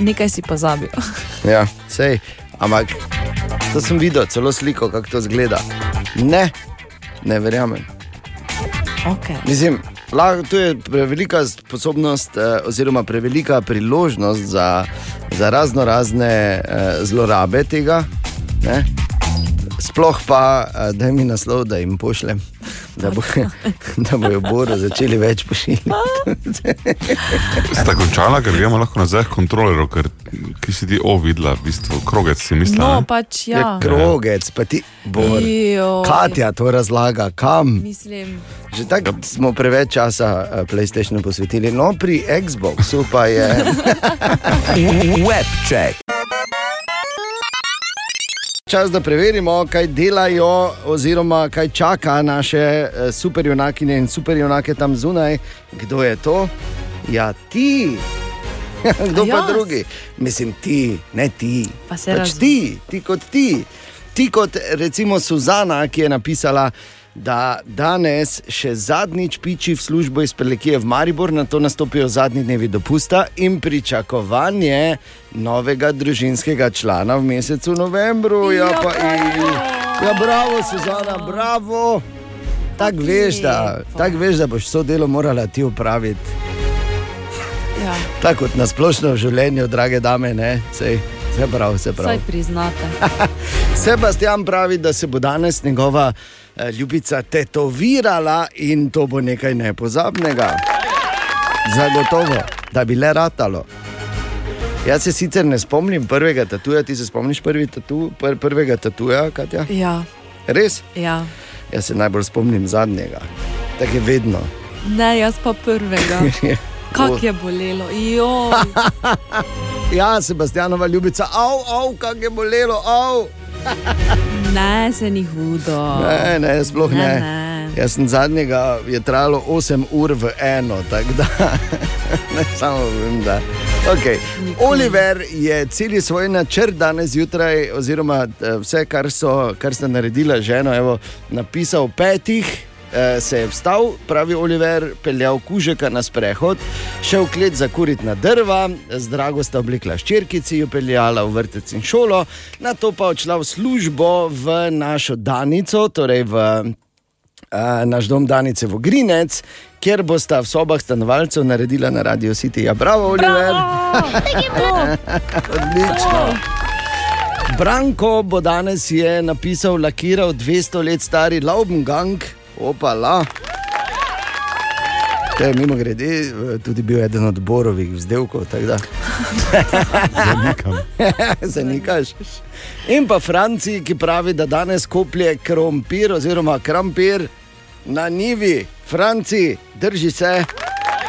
[SPEAKER 5] nekaj si pozabil.
[SPEAKER 4] ja. Sej, ampak to sem videl, celo sliko, kako to zgleda. Ne, ne verjamem.
[SPEAKER 5] okay.
[SPEAKER 4] Mislim, lahko, to je prevelika sposobnost, eh, oziroma prevelika priložnost za, za razno razne eh, zlorabe tega. Ne? Sploh pa, eh, da mi naslov, da jim pošljem. da, bo, da bojo Boru začeli več pošiljati.
[SPEAKER 11] Sta končala, ker gremo lahko nazaj k kontrolerju, ker ki si ti o videla, v bistvu krogec si mislila.
[SPEAKER 5] No,
[SPEAKER 11] ne?
[SPEAKER 5] pač ja.
[SPEAKER 4] Je krogec, pa ti Bor.
[SPEAKER 5] Joj.
[SPEAKER 4] Katja to razlaga, kam.
[SPEAKER 5] Mislim,
[SPEAKER 4] Že tako smo preveč časa eh, PlayStationu posvetili, no pri Xboxu pa je.
[SPEAKER 1] Webcheck.
[SPEAKER 4] Čas, da preverimo, kaj delajo, oziroma kaj čaka naše eh, superjunakinje in superjunake tam zunaj. Kdo je to? Ja, ti. Kdo
[SPEAKER 5] A
[SPEAKER 4] pa
[SPEAKER 5] jaz?
[SPEAKER 4] drugi? Mislim, ti, ne ti.
[SPEAKER 5] Pa se
[SPEAKER 4] pač
[SPEAKER 5] razum-
[SPEAKER 4] ti, ti kot ti. Ti kot recimo Suzana, ki je napisala. Da danes še zadnjič piči v službo iz Prelekije v Maribor, na to nastopijo zadnji dnevi dopusta in pričakovanje novega družinskega člana v mesecu novembru. Ja, pa in. Ja, bravo, Suzana, bravo. Tako veš, da, tak veš, da boš to delo morala ti upraviti.
[SPEAKER 5] ja,
[SPEAKER 4] Tako kot na splošno v življenju, drage dame, ne, sej, se pravi, se
[SPEAKER 5] vsaj
[SPEAKER 4] pravi.
[SPEAKER 5] priznate.
[SPEAKER 4] Sebastian pravi, da se bo danes njegova eh, ljubica tetovirala in to bo nekaj nepozabnega. Zagotovo, da bi le ratalo. Jaz se sicer ne spomnim prvega tatuja, ti se spomniš prvi tatu, pr prvega tatuja, Katja?
[SPEAKER 5] Ja,
[SPEAKER 4] Res?
[SPEAKER 5] ja.
[SPEAKER 4] Jaz se najbolj spomnim zadnjega, tako je vedno.
[SPEAKER 5] Ne, jaz pa prvega. Kak je bolelo, jo.
[SPEAKER 4] Ja, Sebastianova ljubica, av, av, kak je bolelo, av.
[SPEAKER 5] Ne, se ni hudo.
[SPEAKER 4] Ne, ne, sploh ne.
[SPEAKER 5] Ne,
[SPEAKER 4] ne.
[SPEAKER 5] ne.
[SPEAKER 4] Jaz sem zadnjega, je trajalo 8 ur v eno, tako da ne samo vem, da. Okay. Oliver je celi svoj načrt danes zjutraj, oziroma eh, vse, kar, so, kar sta naredila ženo, evo, napisal v petih. eh, Se je vstal, pravi Oliver, peljal kužeka na sprehod, šel v klet za kurit na drva, z drago sta oblikla ščirkici, jo peljala v vrtec in šolo, na to pa odšla v službo v našo Danico, torej v eh, naš dom Danice v Grinec, kjer bosta v sobah stanovalcev naredila na Radio City. Ja, bravo, Oliver! Odlično. Branko bo danes je napisal, lakiral 200 let stari Laubngang, opala. To je mimo grede, eh, tudi bil eden od borovih vzdelkov. tako da. Zanikaš. In pa Franciji, ki pravi, da danes koplje krompir oziroma krompir na nivi. Franciji, drži se,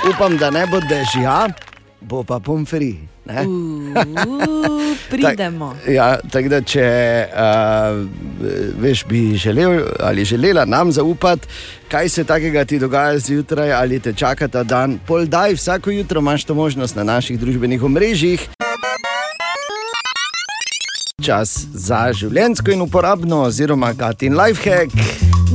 [SPEAKER 4] upam, da ne bo dežja, bo pa pomfri. Ne?
[SPEAKER 5] U, Pridemo.
[SPEAKER 4] Tak, ja, tako da, če uh, veš, bi želel ali želela nam zaupati, kaj se takega ti dogaja zjutraj ali te čaka ta dan, pol daj, vsako jutro imaš to možnost na naših družbenih omrežjih. Čas za življensko in uporabno, oziroma Katin Lifehack,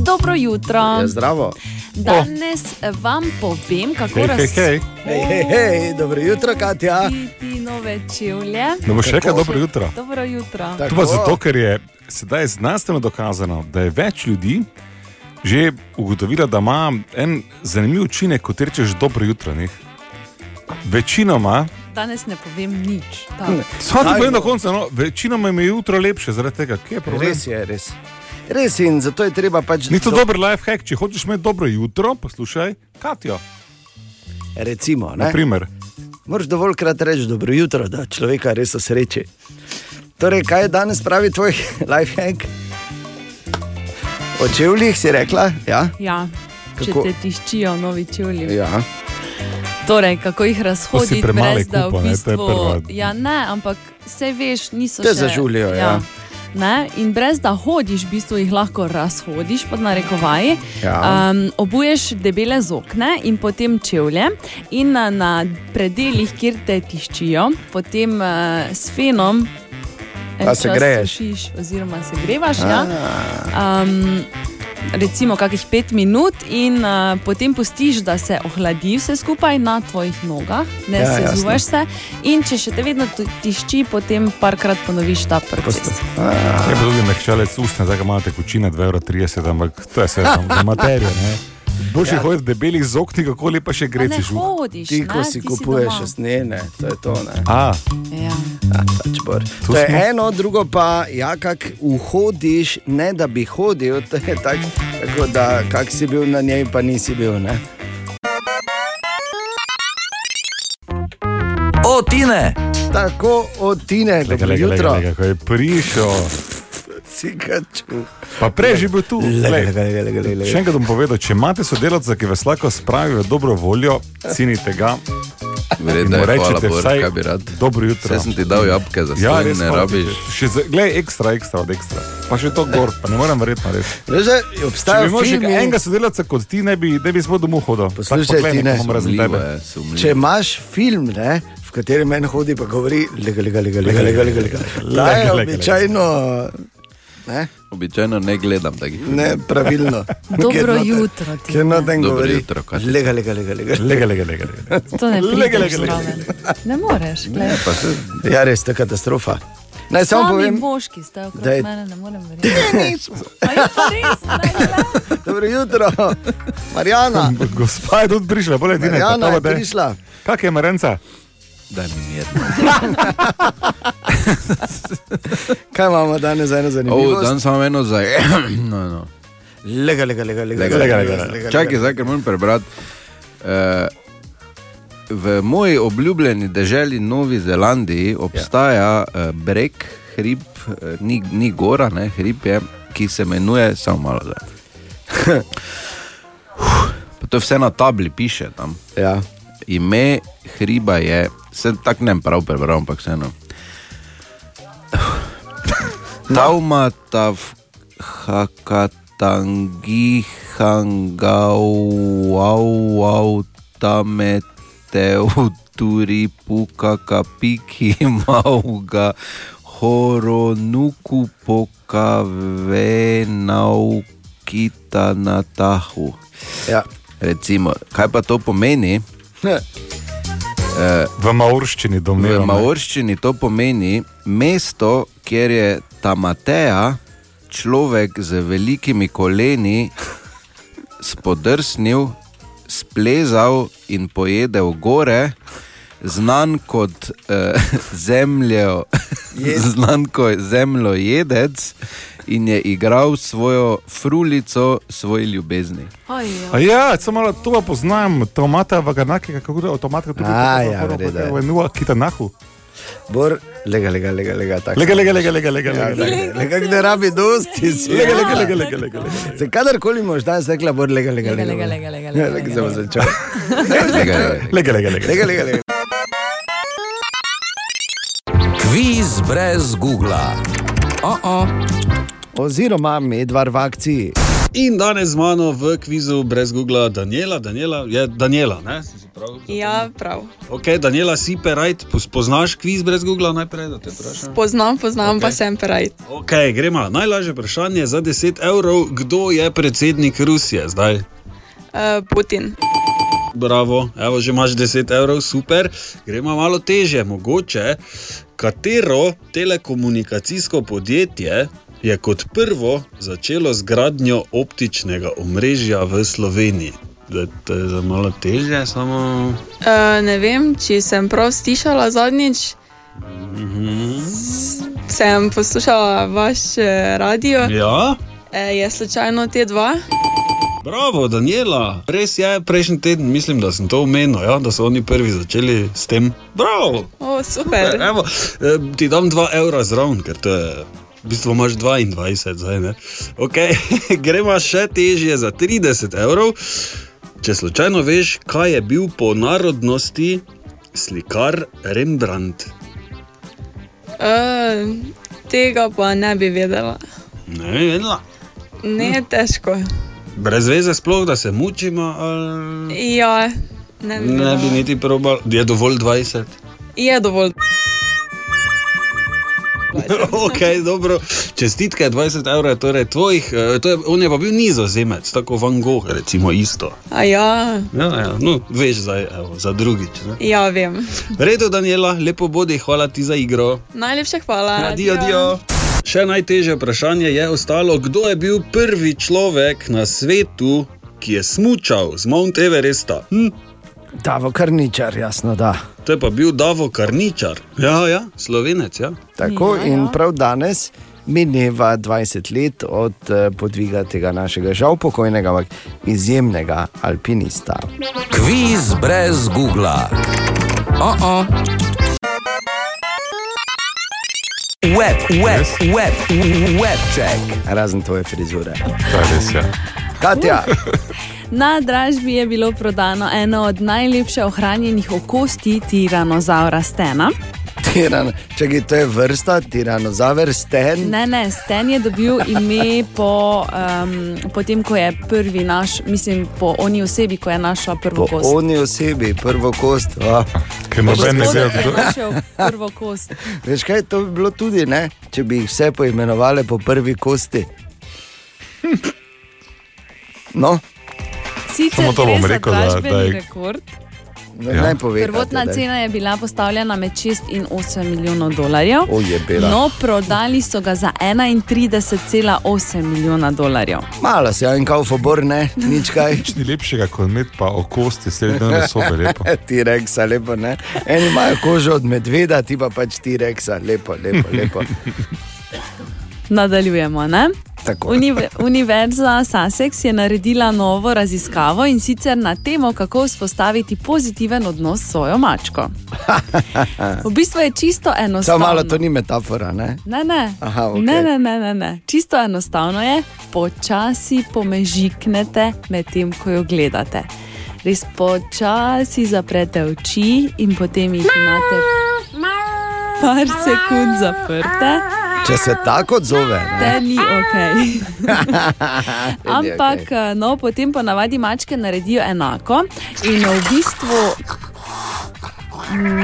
[SPEAKER 5] Dobro jutro.
[SPEAKER 4] je zdravo.
[SPEAKER 5] Danes vam povem, kako
[SPEAKER 3] Hej, hej, hej.
[SPEAKER 4] Hej, hej, hej, dobro jutro, Katja.
[SPEAKER 5] razviti nove čevlje.
[SPEAKER 3] Ne boš rekel dobro jutro.
[SPEAKER 5] Dobro jutro.
[SPEAKER 4] Tako.
[SPEAKER 3] To pa zato, ker je sedaj znanstveno dokazano, da je več ljudi že ugotovilo, da ima en zanimiv učinek, kot rečeš, dobro jutro. Ne? Večinoma,
[SPEAKER 5] Danes ne povem nič. tako.
[SPEAKER 3] samo da povem na koncu, no, večinoma mi je jutro lepše, zaradi tega, kje je problem.
[SPEAKER 4] Res je, res. Res in zato je treba pač.
[SPEAKER 3] Ni to
[SPEAKER 4] do-
[SPEAKER 3] dober life hack, če hočeš imeti dobro jutro, poslušaj Katijo,
[SPEAKER 4] Recimo, ne?
[SPEAKER 3] na primer.
[SPEAKER 4] Moraš dovoljkrat reči dobro jutro, da človeka res osreči. Torej, kaj je danes pravi tvoj lifehack? O čevljih si rekla? Ja.
[SPEAKER 5] Ja, če
[SPEAKER 4] Kako?
[SPEAKER 5] te tiščijo novi čevlji.
[SPEAKER 4] ja.
[SPEAKER 5] Torej, kako jih razhoditi,
[SPEAKER 3] premale
[SPEAKER 5] brez da
[SPEAKER 3] kupa,
[SPEAKER 5] v
[SPEAKER 3] ne, to je
[SPEAKER 5] bistvu.
[SPEAKER 3] prva-
[SPEAKER 5] Ja, ne, ampak vse veš, niso
[SPEAKER 4] Te
[SPEAKER 5] še
[SPEAKER 4] zažulijo, ja.
[SPEAKER 5] Ne? In brez da hodiš, v bistvu jih lahko razhodiš, pod narekovaji.
[SPEAKER 4] Ja.
[SPEAKER 5] Um, obuješ debele zokne in potem čevlje, in na, na predeljih, kjer te tiščijo, potem uh, s fenom. en
[SPEAKER 4] A se
[SPEAKER 5] čas
[SPEAKER 4] greješ? Ah.
[SPEAKER 5] sušiš Oziroma, se grevaš. Ja. Um, recimo kakih pet minut, in uh, potem pustiš, da se ohladi vse skupaj na tvojih nogah, ne
[SPEAKER 4] Ja,
[SPEAKER 5] ja,
[SPEAKER 4] jasno.
[SPEAKER 5] sezuješ se. In če še te vedno tu- tišči, potem parkrat ponoviš ta proces.
[SPEAKER 3] Je pa tudi mehčalec ustne, zdaj ga imate kočina 2,30 evra, ampak to je vse tam za no, materijo. Ne? Boš ja. hodil debelih zog, ti kako lepa še
[SPEAKER 5] Pa ne
[SPEAKER 3] greciš.
[SPEAKER 5] hodiš,
[SPEAKER 4] Ti,
[SPEAKER 5] ne,
[SPEAKER 4] ko si
[SPEAKER 5] ti
[SPEAKER 4] kupuješ
[SPEAKER 5] doma.
[SPEAKER 4] usnjene, to je to. Ne?
[SPEAKER 3] A,
[SPEAKER 5] Ja.
[SPEAKER 4] A, pač bor.
[SPEAKER 3] Tu
[SPEAKER 4] to je
[SPEAKER 3] smo.
[SPEAKER 4] eno, drugo pa, ja, kak vhodiš, ne da bi hodil, to je tak, tako da kak si bil na njej, pa nisi bil. Ne?
[SPEAKER 1] O, Tine!
[SPEAKER 4] Tako od Tine,
[SPEAKER 3] lega,
[SPEAKER 4] dobro
[SPEAKER 3] lega, lega,
[SPEAKER 4] jutro.
[SPEAKER 3] lega, ko je prišel,
[SPEAKER 4] Si ga čutil.
[SPEAKER 3] pa prej že bil tu.
[SPEAKER 4] Lega,
[SPEAKER 3] Glej,
[SPEAKER 4] lega, lega, lega, lega.
[SPEAKER 3] Še enkrat bom povedal, če imate sodelavca, ki vas lahko spravi v dobro voljo, cenite ga.
[SPEAKER 10] Vredno
[SPEAKER 3] in mu
[SPEAKER 10] je, hvala,
[SPEAKER 3] rečete
[SPEAKER 10] Bor,
[SPEAKER 3] vsaj
[SPEAKER 10] kaj bi rad.
[SPEAKER 3] Dobro jutro.
[SPEAKER 10] Vse sem ti dal jabke za
[SPEAKER 3] Ja,
[SPEAKER 10] stoj,
[SPEAKER 3] res
[SPEAKER 10] ne
[SPEAKER 3] hvala.
[SPEAKER 10] rabiš.
[SPEAKER 3] Še za, glej, ekstra, ekstra od ekstra. Pa še to gor, pa ne morem verjetno reči.
[SPEAKER 4] Veš, da
[SPEAKER 3] Če bi
[SPEAKER 4] obstajajo
[SPEAKER 3] imel še
[SPEAKER 4] filmi,
[SPEAKER 3] enega sodelavca kot ti, ne bi, ne bi smo domov hodil. Tako,
[SPEAKER 4] Poslušaj,
[SPEAKER 3] poglej,
[SPEAKER 4] Tine.
[SPEAKER 3] nekaj imam razen
[SPEAKER 10] Sumljivo
[SPEAKER 3] tebe.
[SPEAKER 10] je, sumljivo.
[SPEAKER 4] če imaš film, ne, v katerem en hodi, pa govori, lega, lega, lega, lega, lega, lega, lega. Da
[SPEAKER 3] Lega,
[SPEAKER 4] je
[SPEAKER 3] lega,
[SPEAKER 4] običajno ne,
[SPEAKER 10] Običajno ne gledam takih.
[SPEAKER 4] ne pravilno.
[SPEAKER 5] Dobro jutro ti.
[SPEAKER 4] Ker noten
[SPEAKER 10] Dobro
[SPEAKER 4] govori,
[SPEAKER 10] jutro, Katja.
[SPEAKER 4] lega, lega, lega, lega.
[SPEAKER 3] Lega, lega, lega, lega.
[SPEAKER 5] To ne prideš
[SPEAKER 3] Lega, lega, lega,
[SPEAKER 5] zraven. Ne moreš. glej.
[SPEAKER 10] Pa se
[SPEAKER 4] Ja, res, to je katastrofa. Naj samo
[SPEAKER 5] Sami
[SPEAKER 4] povem,
[SPEAKER 5] boški ste okrog
[SPEAKER 4] da je-
[SPEAKER 5] mene, ne morem verjeti. Pa je pa res, ne, glej.
[SPEAKER 4] dobro jutro, Marjana.
[SPEAKER 3] Gospa je tudi prišla, bolje ti ne.
[SPEAKER 4] Marjana Ja, je prišla.
[SPEAKER 3] Kak je Marenca?
[SPEAKER 10] daj mi mirno.
[SPEAKER 4] Kaj imamo danes za eno
[SPEAKER 10] O,
[SPEAKER 4] zanimivost?
[SPEAKER 10] dan samo eno za... No, no.
[SPEAKER 4] Lega, lega, lega, lega,
[SPEAKER 10] Lega,
[SPEAKER 3] lega, lega.
[SPEAKER 10] Čakaj, zdaj, ker moram prebrati. Eh, V moji obljubljeni deželi Novi Zelandiji obstaja ja. breg, hrib, eh, ni, ni gora, ne, hrib je, ki se imenuje samo malo. zdaj. Pa to je vse na tabli, piše tam.
[SPEAKER 4] Ja.
[SPEAKER 10] Ime hriba je, se tak ne bom prav prebral, ampak vseeno. Taumatav hakatangi hangau tameteu turi puka kapiki mauga horonuku pokave naukita na tahu.
[SPEAKER 4] ja.
[SPEAKER 10] Recimo, kaj pa to pomeni?
[SPEAKER 3] V Maurščini
[SPEAKER 10] V
[SPEAKER 3] domnevam.
[SPEAKER 10] maorščini to pomeni mesto, kjer je Tamateja, človek z velikimi koleni, spodrsnil, splezal in pojedel gore, znan kot eh, zemljo, znan kot zemljojedec in je igral svojo frulico, svoji ljubezni.
[SPEAKER 5] Ojoj.
[SPEAKER 3] A ja, samo malo to pa poznam, avtomata v Ganaki, kako gre, avtomata tudi
[SPEAKER 4] A, ja,
[SPEAKER 3] v
[SPEAKER 4] verjetno.
[SPEAKER 3] Nua Kitanahu.
[SPEAKER 4] Bor, lega, lega, lega, lega. tako.
[SPEAKER 3] Lega, lega, lega, lega, lega,
[SPEAKER 4] Ja,
[SPEAKER 3] lega.
[SPEAKER 4] lega, Lega, ne rabi dosti. si.
[SPEAKER 3] Lega, lega, lega, lega, lega, lega.
[SPEAKER 4] Se kadarkoli moš danes rekla, bor, lega, lega,
[SPEAKER 5] Lega,
[SPEAKER 4] lega.
[SPEAKER 5] lega, lega, lega, lega,
[SPEAKER 4] Lega,
[SPEAKER 5] lega.
[SPEAKER 4] sem začel.
[SPEAKER 10] Tega je
[SPEAKER 3] Lega, lega, lega.
[SPEAKER 4] Lega, lega, lega.
[SPEAKER 1] Kviz brez Google. Oh -oh.
[SPEAKER 4] Oziroma, medvar v akciji.
[SPEAKER 12] In danes z mano v kvizu brez Google Daniela, Daniela je Daniela. Ne?
[SPEAKER 13] Ja, prav.
[SPEAKER 12] Ok, Daniela, si perajt, poznaš kviz brez Google najprej, da te vprašam.
[SPEAKER 13] Poznam, poznam, okay. pa sem perajt.
[SPEAKER 12] Ok, gremo. Najlažje vprašanje za 10 evrov, kdo je predsednik Rusije zdaj?
[SPEAKER 13] Uh, Putin.
[SPEAKER 12] Bravo, evo že imaš 10 evrov, super. Gremo malo teže, mogoče. Katero telekomunikacijsko podjetje je kot prvo začelo z gradnjo optičnega omrežja v Sloveniji? Da, to je za malo teže, samo.
[SPEAKER 13] Uh, ne vem, če sem prav slišala zadnjič,
[SPEAKER 12] Mhm.
[SPEAKER 13] sem poslušala vaš eh, radio,
[SPEAKER 12] Ja,
[SPEAKER 13] uh, je slučajno te dva.
[SPEAKER 12] bravo, Daniela. Res je, prejšnji teden mislim, da sem to omenil, ja, da so oni prvi začeli s tem. Bravo!
[SPEAKER 13] O, oh, super.
[SPEAKER 12] Evo, eh, ti dam 2 evra zraven, ker to je. V bistvu imaš 22, zdaj ne. Okay. Gremo še težje za 30 evrov. Če slučajno veš, kaj je bil po narodnosti slikar Rembrandt.
[SPEAKER 13] Uh, tega pa ne bi vedela.
[SPEAKER 12] Ne vem, vedela.
[SPEAKER 13] Ne, težko.
[SPEAKER 12] brez veze sploh, da se mučimo. Ali...
[SPEAKER 13] Ja, ne bi.
[SPEAKER 12] Ne bi
[SPEAKER 13] vedela.
[SPEAKER 12] niti probal, je dovolj 20.
[SPEAKER 13] Je dovolj.
[SPEAKER 12] ok, dobro. Čestitke, 20 evrov je torej tvojih, eh, to je, on je pa bil nizozemec, tako Van Gogh, recimo isto.
[SPEAKER 13] A ja,
[SPEAKER 12] Ja, ja, no, veš zdaj, evo, za drugič. ne.
[SPEAKER 13] ja, vem.
[SPEAKER 12] V Redu, Daniela, lepo bodi, hvala ti za igro.
[SPEAKER 13] Najlepša hvala.
[SPEAKER 12] Adijo, adijo. Še najtežje vprašanje je ostalo, kdo je bil prvi človek na svetu, ki je smučal z Mount Everesta? Hm?
[SPEAKER 4] Davo Karničar, jasno da.
[SPEAKER 12] To je pa bil Davo Karničar, ja, ja, slovenec. Ja.
[SPEAKER 4] Tako in prav danes. Mineva 20 let od eh, podviga tega našega žal pokojnega, ampak izjemnega alpinista.
[SPEAKER 1] Kviz brez Google. Oh -oh. Web, web, web, web check.
[SPEAKER 4] Razen tvoje frizure.
[SPEAKER 11] To je res, ja.
[SPEAKER 4] Katja,
[SPEAKER 5] Na dražbi je bilo prodano eno od najlepše ohranjenih okosti tiranozaura stena.
[SPEAKER 4] tiran, če je to je vrsta, tiranozaver, sten.
[SPEAKER 5] Ne, ne, Sten je dobil ime po, um, po tem, ko je prvi naš, mislim, po oni osebi, ko je našla prvo
[SPEAKER 4] Po
[SPEAKER 5] kost.
[SPEAKER 4] oni osebi, prvo kost. Ah.
[SPEAKER 11] Ker noben ne ve,
[SPEAKER 5] Gospod, ki
[SPEAKER 11] kdo
[SPEAKER 5] je našel prvo kost.
[SPEAKER 4] Veš kaj, to bi bilo tudi, ne? če bi jih vse poimenovali po prvi kosti. No,
[SPEAKER 5] Sicer
[SPEAKER 4] Samo to
[SPEAKER 5] gre
[SPEAKER 4] bom
[SPEAKER 5] za
[SPEAKER 4] rekel, da- da
[SPEAKER 5] dražbeni
[SPEAKER 4] je-
[SPEAKER 5] rekord.
[SPEAKER 4] ne, ja. naj povem.
[SPEAKER 5] Prvotna cena je bila postavljena med 6 in 8 milijonov dolarjev.
[SPEAKER 4] je bila.
[SPEAKER 5] No, prodali so ga za 31,8 milijona dolarjev.
[SPEAKER 4] Mala si, en kaufobor, ne, nič kaj.
[SPEAKER 11] Nič ni lepšega kot med pa okosti, srednje sobe lepo.
[SPEAKER 4] ti reksa, lepo ne. Eni imajo kožo od medveda, ti pa pač ti reksa, lepo, lepo, lepo.
[SPEAKER 5] Nadaljujemo. Ne?
[SPEAKER 4] Tako.
[SPEAKER 5] Unive- Univerza Sussex je naredila novo raziskavo in sicer na temo, kako vzpostaviti pozitiven odnos s svojo mačko. V bistvu je čisto
[SPEAKER 4] Samo
[SPEAKER 5] enostavno.
[SPEAKER 4] malo to ni metafora, ne?
[SPEAKER 5] Ne, ne.
[SPEAKER 4] Aha, ok.
[SPEAKER 5] Ne, ne, ne, ne, ne. Čisto enostavno je, počasi pomežiknete med tem, ko jo gledate. Res počasi zaprete oči in potem jih imate par sekund zaprte,
[SPEAKER 4] Če se tako odzove,
[SPEAKER 5] te
[SPEAKER 4] ne.
[SPEAKER 5] ni ok.
[SPEAKER 4] Te ni
[SPEAKER 5] Ampak
[SPEAKER 4] okej.
[SPEAKER 5] okay. no, potem ponavadi mačke naredijo enako in v bistvu.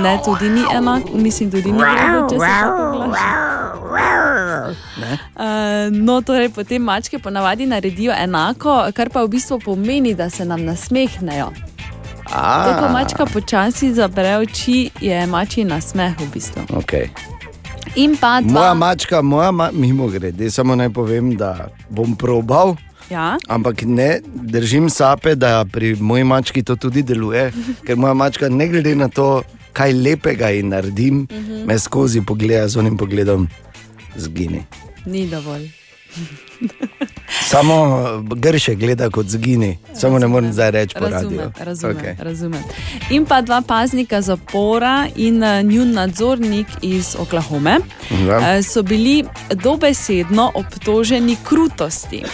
[SPEAKER 5] Ne, tudi ni enako, mislim, tudi ni enako, če se tako oglaša. Uh, no, torej potem mačke ponavadi naredijo enako, kar pa v bistvu pomeni, da se nam nasmehnejo.
[SPEAKER 4] A.
[SPEAKER 5] Tako ko mačka počasi zapre oči, je mačji nasmeh v bistvu.
[SPEAKER 4] Okay.
[SPEAKER 5] In pa dva.
[SPEAKER 4] Moja mačka, moja ma mimo grede, samo naj povem, da bom probal.
[SPEAKER 5] Ja.
[SPEAKER 4] Ampak ne držim sape, da pri moji mački to tudi deluje, ker moja mačka, ne glede na to, kaj lepega ji naredim,
[SPEAKER 5] Mhm.
[SPEAKER 4] me skozi pogleda z onim pogledom, zgini.
[SPEAKER 5] Ni dovolj.
[SPEAKER 4] Samo eh, grše gleda kot zgini, samo ne morem zdaj reči po
[SPEAKER 5] Razumem,
[SPEAKER 4] radiju.
[SPEAKER 5] razumem,
[SPEAKER 4] Okej.
[SPEAKER 5] okay. razumem. In pa dva paznika zapora in eh, njun nadzornik iz Oklahome
[SPEAKER 4] Ja.
[SPEAKER 5] eh, so bili dobesedno obtoženi krutosti.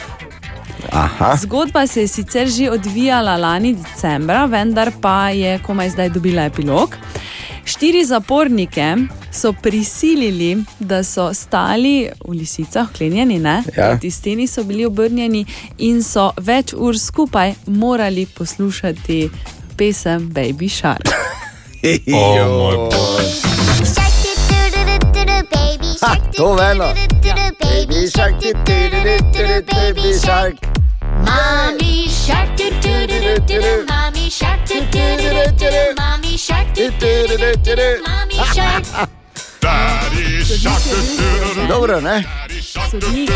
[SPEAKER 4] Aha.
[SPEAKER 5] Zgodba se je sicer že odvijala lani decembra, vendar pa je komaj zdaj dobila epilog. Štiri zapornike so prisilili, da so stali v lisicah, klenjeni, ne?
[SPEAKER 4] Ja.
[SPEAKER 5] Proti steni so bili obrnjeni in so več ur skupaj morali poslušati pesem Baby Shark.
[SPEAKER 4] Oh, ha, to veno. Baby shark, tu, tu, tu, tu, tu, tu, baby shark.
[SPEAKER 6] Mommy shark do do do do do do. Mommy shark do do do do do do. Mommy shark do do do do do do. Mommy shark.
[SPEAKER 11] Daddy shark do do do do.
[SPEAKER 4] Dobro, ne?
[SPEAKER 5] Sodnik,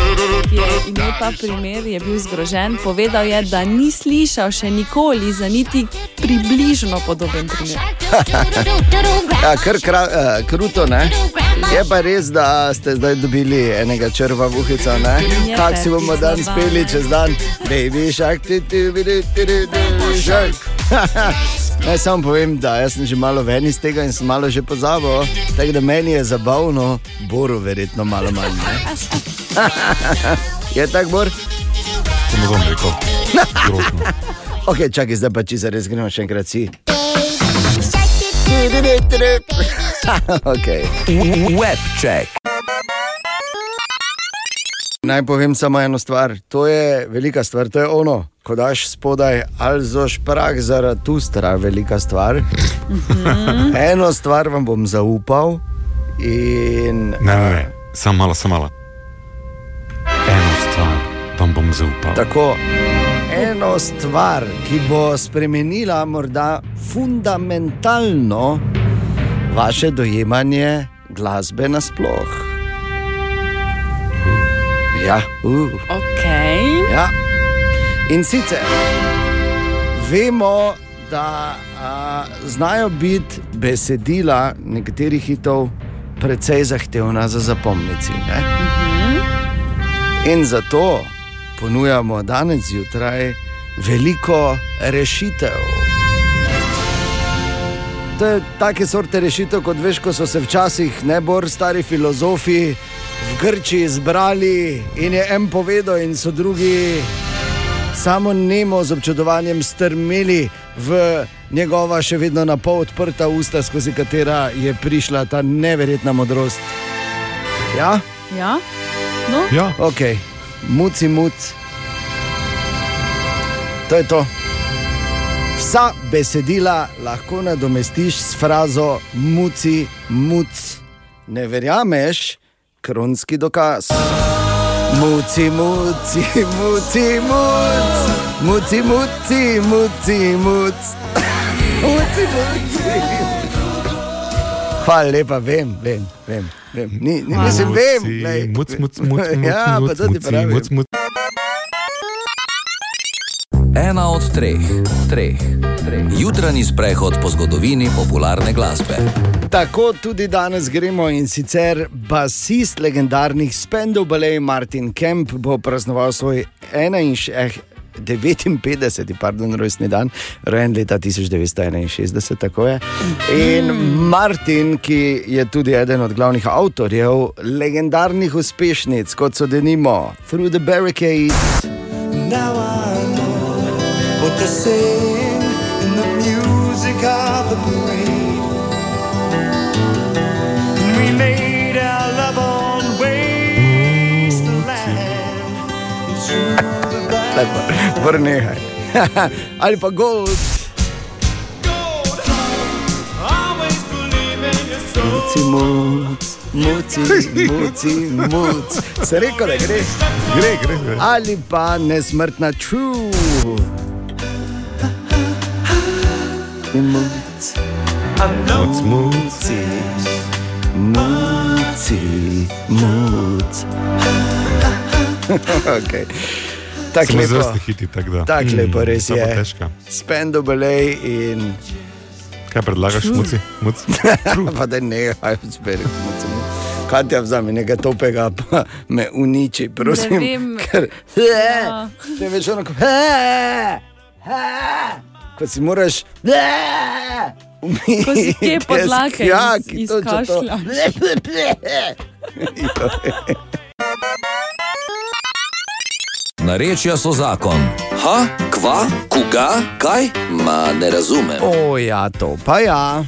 [SPEAKER 5] ki je imel ta primer, je bil zgrožen. Povedal je, da ni slišal še nikoli za niti približno podoben primer.
[SPEAKER 4] Ja, kar kra, uh, kruto, ne? Je pa res, da ste zdaj dobili enega črva vuhica, ne?
[SPEAKER 6] Je
[SPEAKER 4] Kak si bomo
[SPEAKER 6] petica
[SPEAKER 4] danes peli čez dan? Baby shark, ti ti ti ti ti ti shark. Naj samo povem, da jaz sem že malo ven iz tega in sem malo že pozabil, tako da meni je zabavno, boru verjetno malo manj. Ne? je tako, bor?
[SPEAKER 11] Samo bom rekel. Grozno.
[SPEAKER 4] Ok, čakaj, zdaj pa če se res gremo še enkrat si. okay.
[SPEAKER 1] Web check.
[SPEAKER 4] Naj povem samo eno stvar, to je velika stvar, to je ono. Ko daš spodaj ali zoš prah zaradi tu stra, velika stvar. Eno stvar vam bom zaupal in
[SPEAKER 11] Ne, ne, ne, samo malo, samo malo. Eno stvar vam bom zaupal.
[SPEAKER 4] Tako. Eno stvar, ki bo spremenila morda fundamentalno vaše dojemanje glasbe nasploh. Ja, uh.
[SPEAKER 5] Okay.
[SPEAKER 4] ja. In sicer vemo, da a, znajo biti besedila nekaterih hitov precej zahtevna za zapomnici. Ne? In zato ponujamo danes zjutraj veliko rešitev. To je take sorte rešitev, kot veš, ko so se včasih najbolj stari filozofi v Grčiji zbrali in je en povedal, in so drugi samo nemo z občudovanjem strmeli v njegova še vedno na pol odprta usta, skozi katera je prišla ta neverjetna modrost. Ja?
[SPEAKER 5] Ja? No?
[SPEAKER 3] Ja.
[SPEAKER 4] Ok, muci, muci. To je to. Vsa besedila lahko nadomestiš s frazo muci, muc. Ne verjameš, kronski dokaz. Muci, muci, muci, muc, muci, muci, muci, muc. Muci, muci. Hvala lepa, vem, vem. vem, vem. Ni, ni, mislim, vem. glej.
[SPEAKER 3] Muc, muc, muc, muc,
[SPEAKER 4] ja,
[SPEAKER 3] muc,
[SPEAKER 4] pa to ti
[SPEAKER 3] muci,
[SPEAKER 4] pravim.
[SPEAKER 3] muc, muc.
[SPEAKER 1] Ena od treh, treh, treh. Jutranji sprehod po zgodovini popularne glasbe.
[SPEAKER 4] Tako tudi danes gremo in sicer basist legendarnih Spendov Ballet Martin Kemp bo praznoval svoj 51, eh, 59. Pardon, rojstni dan, rojen leta 1961, tako je. In Martin, ki je tudi eden od glavnih avtorjev legendarnih uspešnic, kot so denimo Through the Barricades.
[SPEAKER 6] Now I know what they're saying in the music of the parade. And we made our love on wasteland.
[SPEAKER 4] Lepo, vrnehaj. Ali pa gold. Muci, muc, muci, muci, muc. Se reko, da gre.
[SPEAKER 3] Gre, gre, gre.
[SPEAKER 4] Ali pa nesmrtna true. In muc.
[SPEAKER 3] Muc, muc.
[SPEAKER 4] Muci, muci, muc. okay. Tako
[SPEAKER 11] Smo
[SPEAKER 4] lepo.
[SPEAKER 11] izvrstni hiti, tako da.
[SPEAKER 4] Tako
[SPEAKER 11] Mm,
[SPEAKER 4] lepo, res
[SPEAKER 11] ta pa
[SPEAKER 4] je.
[SPEAKER 11] težka.
[SPEAKER 4] Spendo belej in.
[SPEAKER 11] Kaj predlagaš,
[SPEAKER 4] Čur.
[SPEAKER 11] muci? muc?
[SPEAKER 4] pa da ne, aj zberi. Kaj ti vzame nekaj topega, pa me uniči,
[SPEAKER 5] Ne
[SPEAKER 4] prosim.
[SPEAKER 5] vem.
[SPEAKER 4] Ker,
[SPEAKER 5] Ja.
[SPEAKER 4] ne veš, ono, ko, ko si moraš.
[SPEAKER 5] Ko si kje
[SPEAKER 4] umiti
[SPEAKER 5] podlake
[SPEAKER 4] skjak,
[SPEAKER 5] iz, iz
[SPEAKER 4] točno to.
[SPEAKER 5] kašlja.
[SPEAKER 1] Narečja so zakon. Ha, kva, kuga, kaj? Ma ne razumem.
[SPEAKER 4] O, ja, to pa ja.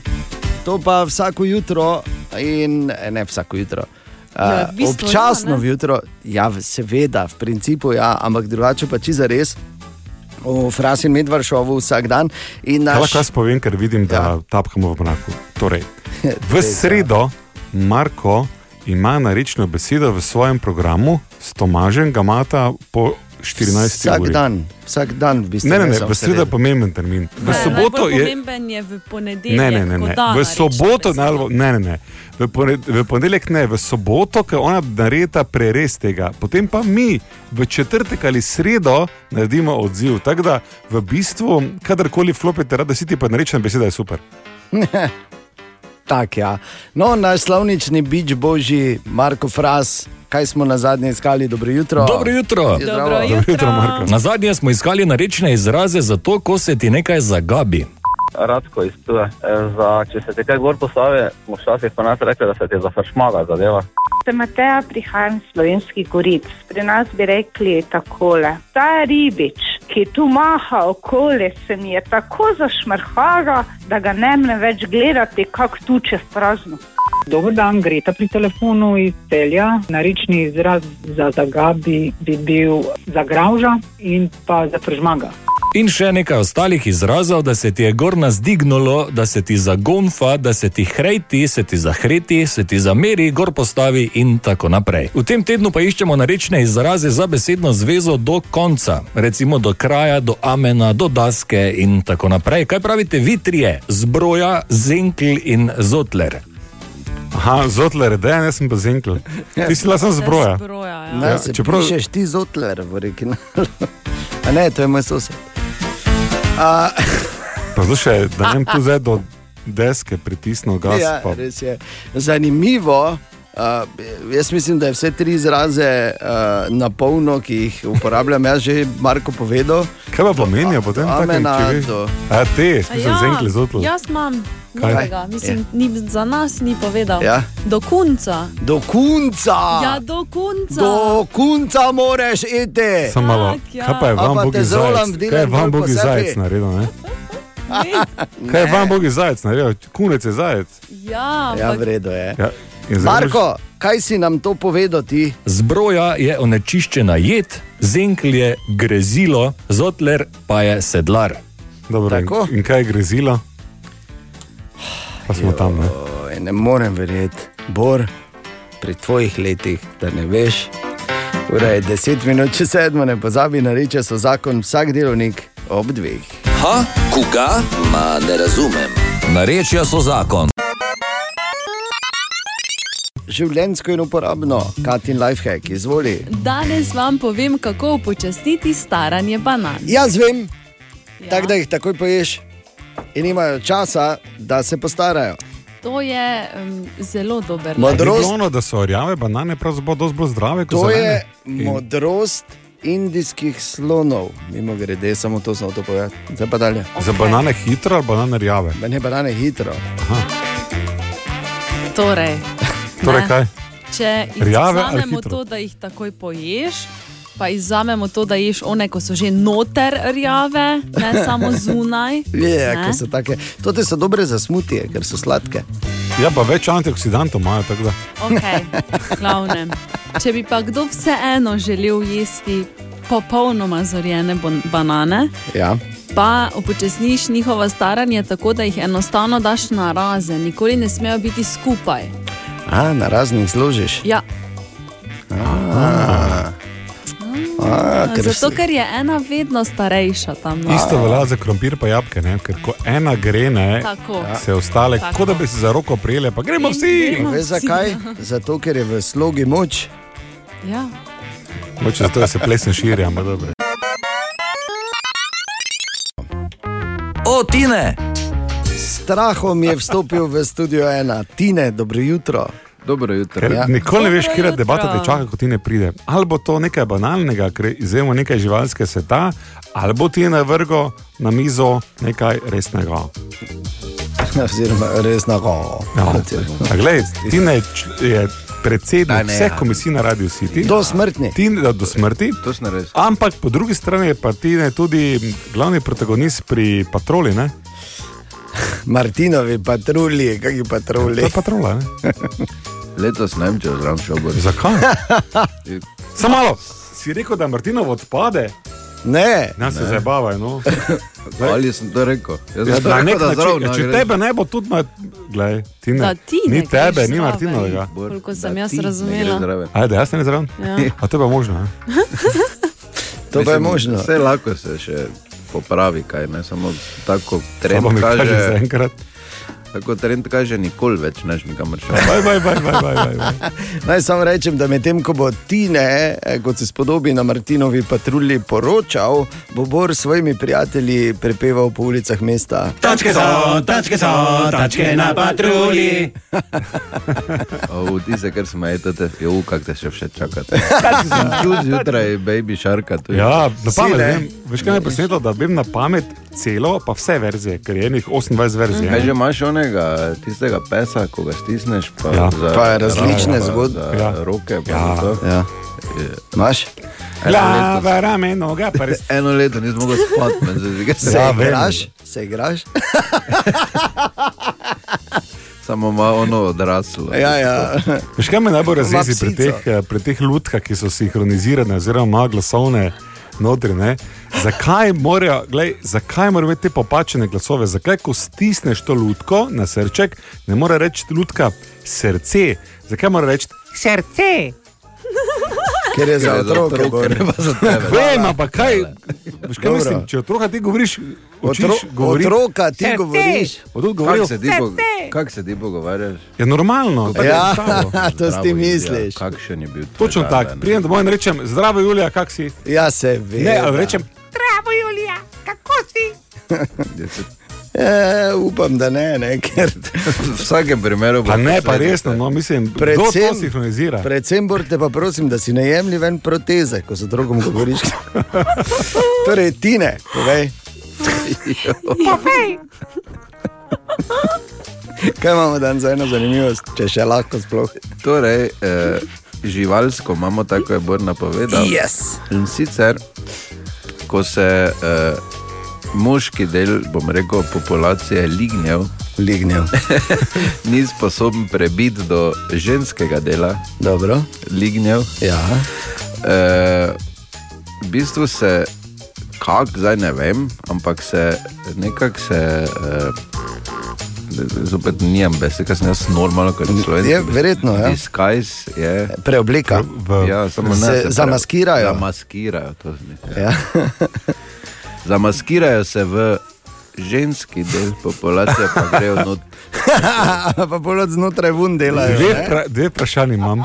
[SPEAKER 4] To pa vsako jutro, in eh, ne vsako jutro.
[SPEAKER 5] Ja,
[SPEAKER 4] eh,
[SPEAKER 5] v bistvu ja,
[SPEAKER 4] občasno
[SPEAKER 5] ne?
[SPEAKER 4] v jutro, ja, v- seveda, v principu ja, ampak drugače pa če za res. V Frasin Medvaršovu vsak dan in
[SPEAKER 11] Kaj
[SPEAKER 4] naš
[SPEAKER 11] lahko jaz povem, ker vidim, da ja. tapkamo v mraku. Torej, v
[SPEAKER 4] Res, ja.
[SPEAKER 11] sredo Marko ima narečno besedo v svojem programu, s Tomažem ga mata po 14.
[SPEAKER 4] Vsak
[SPEAKER 11] uri.
[SPEAKER 4] dan, vsak dan v bistvu.
[SPEAKER 11] Ne, ne, ne,
[SPEAKER 4] samo
[SPEAKER 11] v sredo je pomemben termin. V
[SPEAKER 5] Ne,
[SPEAKER 11] soboto
[SPEAKER 5] najbolj
[SPEAKER 11] je.
[SPEAKER 5] Pomemben je v ponedeljek.
[SPEAKER 11] Ne, ne, ne,
[SPEAKER 5] ko
[SPEAKER 11] ne.
[SPEAKER 5] da
[SPEAKER 11] V
[SPEAKER 5] narečeš
[SPEAKER 11] soboto,
[SPEAKER 5] besedo.
[SPEAKER 11] najbolj, ne, ne, ne. V, poned, v ponedeljek ne, v soboto, ker ona naredi prerez tega. Potem pa mi v četrtek ali sredo naredimo odziv. Tako da v bistvu, kadarkoli flopite, rada si ti pa narečena beseda je super.
[SPEAKER 4] Tak, ja. No, naš slavnični bič božji, Marko Fras, kaj smo na zadnje iskali, dobro jutro.
[SPEAKER 14] Dobro jutro.
[SPEAKER 4] Je zdravo.
[SPEAKER 14] jutro, Marko. Na zadnje smo iskali narečne izraze za to, ko se ti nekaj zagabi.
[SPEAKER 15] Radko iz Ptuja. E, Za, če se ti kaj gor postavi, smo včasih pa nas rekli, da se ti zafršmaga zadeva.
[SPEAKER 16] Sem Mateja, prihajam iz slovenskih goric. Pri nas bi rekli takole. Ta ribič, ki tu maha okoli, se mi je tako zašmrhala, da ga ne mre več gledati, kako tu čez prazno.
[SPEAKER 17] Dober dan, Greta pri telefonu iz Celja. Narični izraz za zagabi bi bil zagravža in pa za pržmaga.
[SPEAKER 14] In še nekaj ostalih izrazov, da se ti je gorna zdignilo, da se ti zagonfa, da se ti hrejti, se ti zahreti, se ti zameri, gor postavi in tako naprej. V tem tednu pa iščemo narečne izraze za besedno zvezo do konca, recimo do kraja, do amena, do daske in tako naprej. Kaj pravite vi trije? Zbroja, zenkl in zotler.
[SPEAKER 11] Aha, zotler, da jaz sem pa zenkl.
[SPEAKER 4] Ja.
[SPEAKER 11] Ti si lasen zbroja.
[SPEAKER 4] Ne,
[SPEAKER 3] Ja,
[SPEAKER 4] ja, se čeprav... pišeš ti zotler v originalu. A ne, to je moj sosed. A,
[SPEAKER 3] Poslušaj, da ne bi tu zdaj do deske pritisnil gas.
[SPEAKER 4] ja,
[SPEAKER 3] pa-
[SPEAKER 4] res je. Zanimivo. Uh, jaz mislim, da je vse tri izraze uh, na polno, ki jih uporabljam, jaz že Marko povedal.
[SPEAKER 3] Kaj pa pomenijo potem? takem, če
[SPEAKER 4] Amena,
[SPEAKER 3] ve?
[SPEAKER 4] to.
[SPEAKER 3] A te, smo se
[SPEAKER 5] Ja,
[SPEAKER 3] zenkli zotlo.
[SPEAKER 5] Jaz imam
[SPEAKER 3] Kaj?
[SPEAKER 5] novega, mislim, ni za nas ni povedal.
[SPEAKER 4] Ja.
[SPEAKER 5] Do konca.
[SPEAKER 4] Do konca.
[SPEAKER 5] Ja, do konca.
[SPEAKER 4] Do konca moraš iti.
[SPEAKER 3] Samo malo.
[SPEAKER 5] ja.
[SPEAKER 3] Kaj pa je
[SPEAKER 4] A
[SPEAKER 3] vam
[SPEAKER 4] pa
[SPEAKER 3] bogi
[SPEAKER 4] te zrolam
[SPEAKER 3] zajec?
[SPEAKER 4] v
[SPEAKER 3] Kaj je
[SPEAKER 4] Dylan
[SPEAKER 3] vam
[SPEAKER 4] dol po
[SPEAKER 3] bogi
[SPEAKER 4] sebi?
[SPEAKER 3] zajec naredil? Ne? Kaj je vam bogi zajec naredil? Kunec je zajec.
[SPEAKER 5] Ja,
[SPEAKER 4] Ja,
[SPEAKER 5] ampak
[SPEAKER 4] v redu je.
[SPEAKER 3] Ja. in zdaj
[SPEAKER 4] Marko, kaj si nam to povedal ti?
[SPEAKER 14] Zbroja je onečiščena jed, zenkel je grezilo, zotler pa je sedlar.
[SPEAKER 3] Dobro, in- Tako. in kaj je grezilo? Pa smo tam. Ne?
[SPEAKER 4] Oj, ne morem verjeti, Bor, pri tvojih letih, da ne veš. Ura je 10 minut, če sedmo, ne pozabi na reči, so zakon vsak delovnik ob dveh.
[SPEAKER 1] Ha, koga? Ma ne razumem. Narečja so zakon.
[SPEAKER 4] Življensko in uporabno, Katin Lifehack, izvoli.
[SPEAKER 5] danes vam povem, kako upočasniti staranje banan.
[SPEAKER 4] Jaz vem, ja. tako da jih takoj poješ in imajo časa, da se postarajo.
[SPEAKER 5] To je um, zelo dober
[SPEAKER 3] Ni bilo Ono, da so rjave banane pravzaprav dosti bolj zdrave kot
[SPEAKER 4] To je
[SPEAKER 3] zelene. In-
[SPEAKER 4] modrost indijskih slonov, mimo grede, samo to sem hotel povedati. Zdaj pa dalje.
[SPEAKER 3] Za banane hitro ali banane rjave?
[SPEAKER 4] Ne, banane hitro.
[SPEAKER 5] Torej,
[SPEAKER 3] Torej
[SPEAKER 5] ne.
[SPEAKER 3] kaj?
[SPEAKER 5] Če
[SPEAKER 3] Rjave ali
[SPEAKER 5] izvzamemo
[SPEAKER 3] hitro?
[SPEAKER 5] to, da jih takoj poješ, pa izvzamemo to, da ješ one, ko so že noter rjave, ne samo zunaj.
[SPEAKER 4] Je,
[SPEAKER 5] ne.
[SPEAKER 4] ker so take. Tote so dobre za smutije, ker so sladke.
[SPEAKER 3] Ja, pa več antioksidantov imajo, tako da.
[SPEAKER 5] Okay, glavnem. Če bi pa kdo vseeno želel jesti popolnoma zorjene bon- banane,
[SPEAKER 4] Ja.
[SPEAKER 5] pa upočasniš njihovo staranje tako, da jih enostavno daš na razen, nikoli ne smejo biti skupaj.
[SPEAKER 4] A, na raznih zložiš.
[SPEAKER 5] Ja,
[SPEAKER 4] A. A, ker vse-
[SPEAKER 5] Ja, zato, ker je ena vedno starejša tam na
[SPEAKER 3] Isto velja za krompir in jabke, ne? ker ko ena gre, ne, Ja.
[SPEAKER 5] Tako.
[SPEAKER 3] se ostale,
[SPEAKER 5] Tako.
[SPEAKER 3] kot da bi se za roko prijele, pa gremo vsi.
[SPEAKER 4] A Veš zakaj? Zato, ker je v slogi moč.
[SPEAKER 5] Ja.
[SPEAKER 3] Moče zato, da se plesen širi, ampak dobro.
[SPEAKER 1] O, Tine!
[SPEAKER 4] Strahom je vstopil v studio ena, Tine, dobro jutro.
[SPEAKER 10] Dobro jutro.
[SPEAKER 3] Ker ja. nikoli ne veš, kje debata te čaka, ko ti ne pride. Ali bo to nekaj banalnega, ker izjemo nekaj živalske sveta, ali bo ti navrgo na mizo nekaj resnega.
[SPEAKER 4] Oziroma, res na govo.
[SPEAKER 10] No.
[SPEAKER 3] Ja. A Glej, ti ne je
[SPEAKER 4] Da
[SPEAKER 3] predsednik
[SPEAKER 4] ne,
[SPEAKER 3] vseh
[SPEAKER 4] ja.
[SPEAKER 3] komisij na Radio City.
[SPEAKER 4] Do smrtni.
[SPEAKER 3] Ti, da, do smrti. Ampak po drugi strani je pa ti ne tudi glavni protagonist pri patroli. Ne?
[SPEAKER 4] Martinovi patrulji, kakšni patrulji.
[SPEAKER 3] To je patrola, ne?
[SPEAKER 10] Letos ne vem, če zraven šel gor.
[SPEAKER 3] Zakaj? Samo malo. Si rekel, da Martinov odpade?
[SPEAKER 4] Ne.
[SPEAKER 3] Nas se
[SPEAKER 10] Ne.
[SPEAKER 3] zabavajo. No.
[SPEAKER 10] Ali sem to rekel? Jaz
[SPEAKER 3] Ja,
[SPEAKER 10] sem to
[SPEAKER 3] na
[SPEAKER 10] rekel,
[SPEAKER 3] nek
[SPEAKER 10] da
[SPEAKER 3] način,
[SPEAKER 10] zraven
[SPEAKER 3] ja,
[SPEAKER 10] ne
[SPEAKER 3] če
[SPEAKER 10] gre.
[SPEAKER 3] tebe ne bo tudi, ma, glej, ti
[SPEAKER 5] Da
[SPEAKER 3] ne.
[SPEAKER 5] ti ne
[SPEAKER 3] ni
[SPEAKER 5] greš
[SPEAKER 3] tebe, ni
[SPEAKER 5] zraven,
[SPEAKER 3] Martinovega.
[SPEAKER 5] koliko sem jaz razumela.
[SPEAKER 3] Ajde, jaz ne zraven.
[SPEAKER 5] Ja.
[SPEAKER 3] A to je pa možno. a?
[SPEAKER 4] To pa je možno.
[SPEAKER 10] Vse lahko se še popravi, kaj ne samo tako trend
[SPEAKER 3] Samo mi
[SPEAKER 10] kaže.
[SPEAKER 3] kaže zaenkrat.
[SPEAKER 10] Tako trend kaže, nikoli več neš nikamor šel.
[SPEAKER 3] Baj, baj, baj, baj, baj, baj.
[SPEAKER 4] Naj samo rečem, da medtem ko bo Tine, eh, kot se spodobi na Martinovi patrulji, poročal, bo Bor s svojimi prijatelji prepeval po ulicah mesta.
[SPEAKER 6] Tačke so, tačke so, tačke na patrulji.
[SPEAKER 10] O, ti se, ker smo etate, jo, kak te še še čakate. Tu zjutraj, baby šarka. tu je.
[SPEAKER 3] Ja, na
[SPEAKER 10] Vsi,
[SPEAKER 3] pamet.
[SPEAKER 10] ne?
[SPEAKER 3] Vem, veš kaj me je presenetilo, da vem na pamet celo, pa vse verzije, ker je enih 28 verzij.
[SPEAKER 10] Kaj že imaš onega, tistega pesa, ko ga stisneš, pa,
[SPEAKER 3] Ja.
[SPEAKER 10] za,
[SPEAKER 3] Pa je različne
[SPEAKER 10] za-
[SPEAKER 3] zgodbe.
[SPEAKER 10] za
[SPEAKER 3] Ja.
[SPEAKER 10] Roke, pa
[SPEAKER 3] Ja.
[SPEAKER 10] za to.
[SPEAKER 4] Ja. Imaš?
[SPEAKER 3] Glava, rame, noga, pa res.
[SPEAKER 10] Eno leto nisem mogel spati, me zdaj že
[SPEAKER 4] Se igraš, se igraš.
[SPEAKER 10] Samo malo ono odraslo.
[SPEAKER 4] Ja, ja.
[SPEAKER 3] Veš kaj me najbolj razjezi pri
[SPEAKER 10] psico.
[SPEAKER 3] teh, eh, pri teh lutkah, ki so sinhronizirane, oziroma imajo glasovne notri? Ne? Zakaj morajo, glej, zakaj morajo imeti te popačene glasove? Zakaj, ko stisneš to lutko na srček, ne more reči lutka srce? Zakaj mora reči srce?
[SPEAKER 4] Ker je za otroke, Bor.
[SPEAKER 3] Vem, ampak kaj, veš, kaj
[SPEAKER 4] Dobro.
[SPEAKER 3] mislim, če otroka ti govoriš, učiš,
[SPEAKER 4] Otro-
[SPEAKER 3] govori,
[SPEAKER 4] otroka ti Srce. govoriš.
[SPEAKER 3] Odkud govoriš?
[SPEAKER 10] Kako se ti po- kako se ti pogovarjaš?
[SPEAKER 3] Je normalno. tako je
[SPEAKER 10] Ja,
[SPEAKER 3] nastalo.
[SPEAKER 4] to si ti misliš.
[SPEAKER 10] Kakšen je bil tvoj
[SPEAKER 3] Točno
[SPEAKER 10] dan
[SPEAKER 3] tako.
[SPEAKER 10] danes?
[SPEAKER 3] Prijem domov in rečem, zdravo Julija, kak si?
[SPEAKER 4] Ja, se ve.
[SPEAKER 3] Ne, ali rečem,
[SPEAKER 6] Bravo, Julija, kako si?
[SPEAKER 4] E, upam, da ne, ne ker v
[SPEAKER 10] vsakem primeru
[SPEAKER 3] Pa ne, pa resno, no, mislim, kdo to sinhronizira?
[SPEAKER 4] Predvsem, Borte, pa prosim, da si ne jemlji ven proteze, ko se drugom govoriš. torej, ti ne, povej.
[SPEAKER 6] Povej.
[SPEAKER 4] Kaj imamo danes za eno zanimivost, če še lahko sploh?
[SPEAKER 10] Torej, eh, živalsko imamo tako je Borna povedal.
[SPEAKER 4] Yes.
[SPEAKER 10] In sicer, ko se eh, moški del, bom rekel, populacije lignjev.
[SPEAKER 4] Lignjev.
[SPEAKER 10] Ni sposoben prebiti do ženskega dela,
[SPEAKER 4] Dobro.
[SPEAKER 10] lignjev.
[SPEAKER 4] Ja.
[SPEAKER 10] E, v bistvu se, kako zdaj ne vem, ampak se nekako se. E, Zopet nijem besed, kaj sem jaz normalno, kot človek.
[SPEAKER 4] Je, verjetno, ja.
[SPEAKER 10] Disguise je.
[SPEAKER 4] Preobleka.
[SPEAKER 10] Ja, samo ne,
[SPEAKER 4] Se
[SPEAKER 10] se pre-
[SPEAKER 4] zamaskirajo.
[SPEAKER 10] Zamaskirajo, to zdi.
[SPEAKER 4] Ja.
[SPEAKER 10] Zamaskirajo se v ženski del populacije, pa grejo not.
[SPEAKER 4] pa bolj od znotraj vun delajo.
[SPEAKER 3] Dve,
[SPEAKER 4] ne?
[SPEAKER 3] pra, dve vprašanje imam.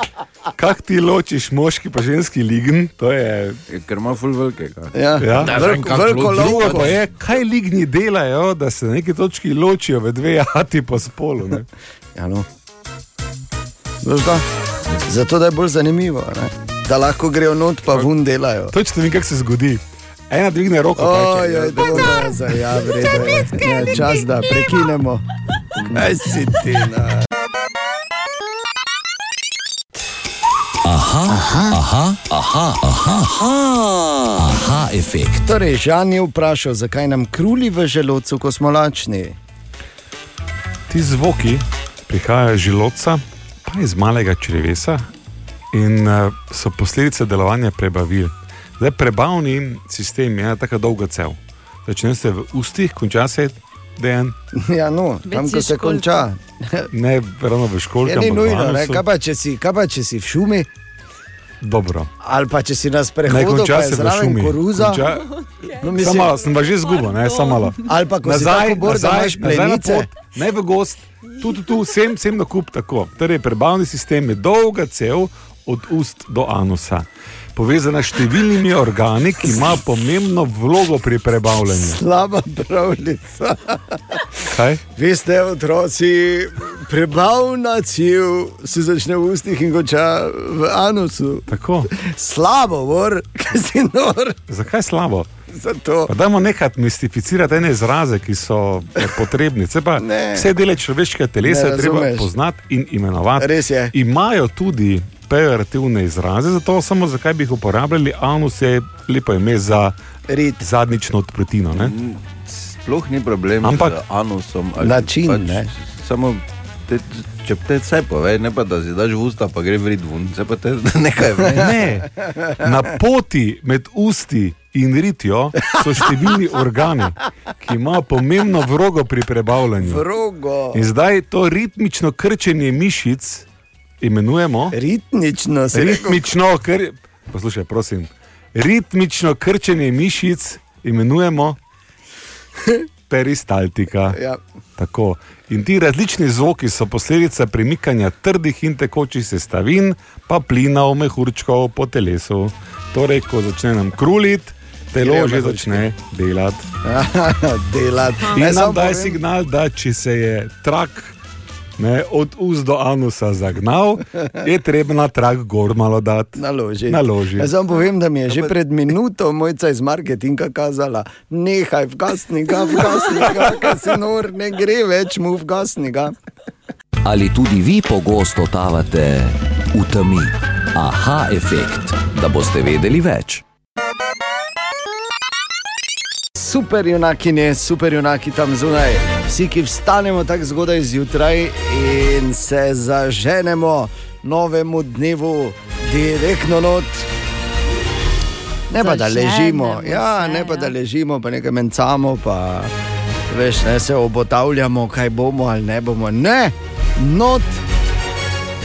[SPEAKER 3] Kako ti ločiš moški pa ženski lign? To je...
[SPEAKER 10] Ker ima ful velikega.
[SPEAKER 4] Ja.
[SPEAKER 3] ja.
[SPEAKER 4] Da, Veliko- vem, kako veliko lov-
[SPEAKER 3] Drugo pa je, kaj ligni delajo, da se na neki točki ločijo v dve jati po spolu. Ne?
[SPEAKER 4] Ja, no. Veš da? Zato da je bolj zanimivo, ne? da lahko grejo not pa vun delajo.
[SPEAKER 3] Točno vem, kako se zgodi. Ena dvigne roko, pa
[SPEAKER 4] Oj,
[SPEAKER 3] reče,
[SPEAKER 4] oj, dobro, zdaj, ja, v redu je. Ja, čas, da prekinemo. Kaj si ti? Na?
[SPEAKER 1] Aha, aha, aha, aha, aha, aha, aha efekt.
[SPEAKER 4] Torej, Žan je vprašal, zakaj nam kruli v želodcu, ko smo lačni.
[SPEAKER 3] Ti zvoki prihajajo iz želodca, pa iz malega črevesa in eh, so posledica delovanja prebavil. Zdaj, prebavni sistem je ena tako dolga cev. Začne se v ustih, konča se den.
[SPEAKER 4] Ja, no, tam, ko se konča.
[SPEAKER 3] Ne, ravno v školi.
[SPEAKER 4] Je Ja, ni nujno, ne? Kaj, pa, če si, kaj pa če si v šumi,
[SPEAKER 3] Dobro.
[SPEAKER 4] ali pa če si na
[SPEAKER 3] Ne,
[SPEAKER 4] sprehodu,
[SPEAKER 3] konča
[SPEAKER 4] pa je
[SPEAKER 3] se v
[SPEAKER 4] zraven
[SPEAKER 3] šumi.
[SPEAKER 4] koruza.
[SPEAKER 3] Konča... No, samo malo, sem pa že zgubil, ne, samo malo.
[SPEAKER 4] Ali pa ko si
[SPEAKER 3] nazaj,
[SPEAKER 4] tako bor, da
[SPEAKER 3] nazaj,
[SPEAKER 4] imaš
[SPEAKER 3] nazaj na
[SPEAKER 4] plenice.
[SPEAKER 3] pot, ne v gost, tu, tu, tu, sem, sem na kup tako. Torej, prebavni sistem je dolga cev od ust do anusa. Povezana s številnimi organi, ki ima pomembno vlogo pri prebavljanju.
[SPEAKER 4] Slaba pravljica.
[SPEAKER 3] Kaj?
[SPEAKER 4] Vi ste otroci, prebavna civ se začne v ustih in konča v anusu.
[SPEAKER 3] Tako.
[SPEAKER 4] Slabo, vor, kaj si nor.
[SPEAKER 3] Zakaj slabo?
[SPEAKER 4] Zato.
[SPEAKER 3] Pa dajmo nekaj mistificirati ene izraze, ki so eh, potrebni. Saj Pa,
[SPEAKER 4] Ne.
[SPEAKER 3] vse dele človeškega telesa
[SPEAKER 4] Ne
[SPEAKER 3] je treba
[SPEAKER 4] razumeš.
[SPEAKER 3] poznati in imenovati.
[SPEAKER 4] Res je.
[SPEAKER 3] Imajo tudi pejorativne izraze, zato samo zakaj bi jih uporabljali. Anus je lepo ime za
[SPEAKER 4] Rit.
[SPEAKER 3] zadnjično odprtino. Ne?
[SPEAKER 10] Sploh ni problem,
[SPEAKER 3] Ampak-
[SPEAKER 10] ampak anusom ali
[SPEAKER 3] Način,
[SPEAKER 10] pač,
[SPEAKER 3] ne.
[SPEAKER 10] Samo te, če te vse povej, ne pa da si daš v usta, pa gre v ridvun, zdaj pa te nekaj ve.
[SPEAKER 3] Ne. Na poti med usti in ritjo so številni organi, ki imajo pomembno vlogo pri prebavljanju.
[SPEAKER 4] Vrogo.
[SPEAKER 3] In zdaj to ritmično krčenje mišic imenujemo.
[SPEAKER 4] Ritmično si rekel.
[SPEAKER 3] ritmično kr... Poslušaj, prosim. Ritmično krčenje mišic imenujemo peristaltika.
[SPEAKER 4] Ja.
[SPEAKER 3] Tako. In ti različni zvoki so posledica premikanja trdih in tekočih sestavin, pa plinov, mehurčkov po telesu. Torej, ko začne nam kruliti,
[SPEAKER 4] Grejo
[SPEAKER 3] telo že
[SPEAKER 4] mehurčki.
[SPEAKER 3] začne delati.
[SPEAKER 4] No, Delati.
[SPEAKER 3] In nam daj signal, da če se je trak ne, od ust do anusa zagnal, je treba na trak gor malo dati.
[SPEAKER 4] Naloži.
[SPEAKER 3] Naloži. Ja,
[SPEAKER 4] Jaz vam povem, da mi je že pred minuto mojca iz marketinga kazala, nehaj vgasnika, vgasnika, kaj si nor, ne gre več mu vgasnika.
[SPEAKER 1] Ali tudi vi pogosto totavate v temi? Aha efekt, da boste vedeli več.
[SPEAKER 4] Superjunakine, superjunaki tam zunaj. Vsi, ki vstanemo tako zgodaj zjutraj in se zaženemo novemu dnevu, direktno not. Ne pa da
[SPEAKER 6] Zaženemo
[SPEAKER 4] ležimo,
[SPEAKER 6] se,
[SPEAKER 4] ja, ne pa da ležimo, pa nekaj mencamo, pa veš, ne se obotavljamo, kaj bomo ali ne bomo. Ne, not.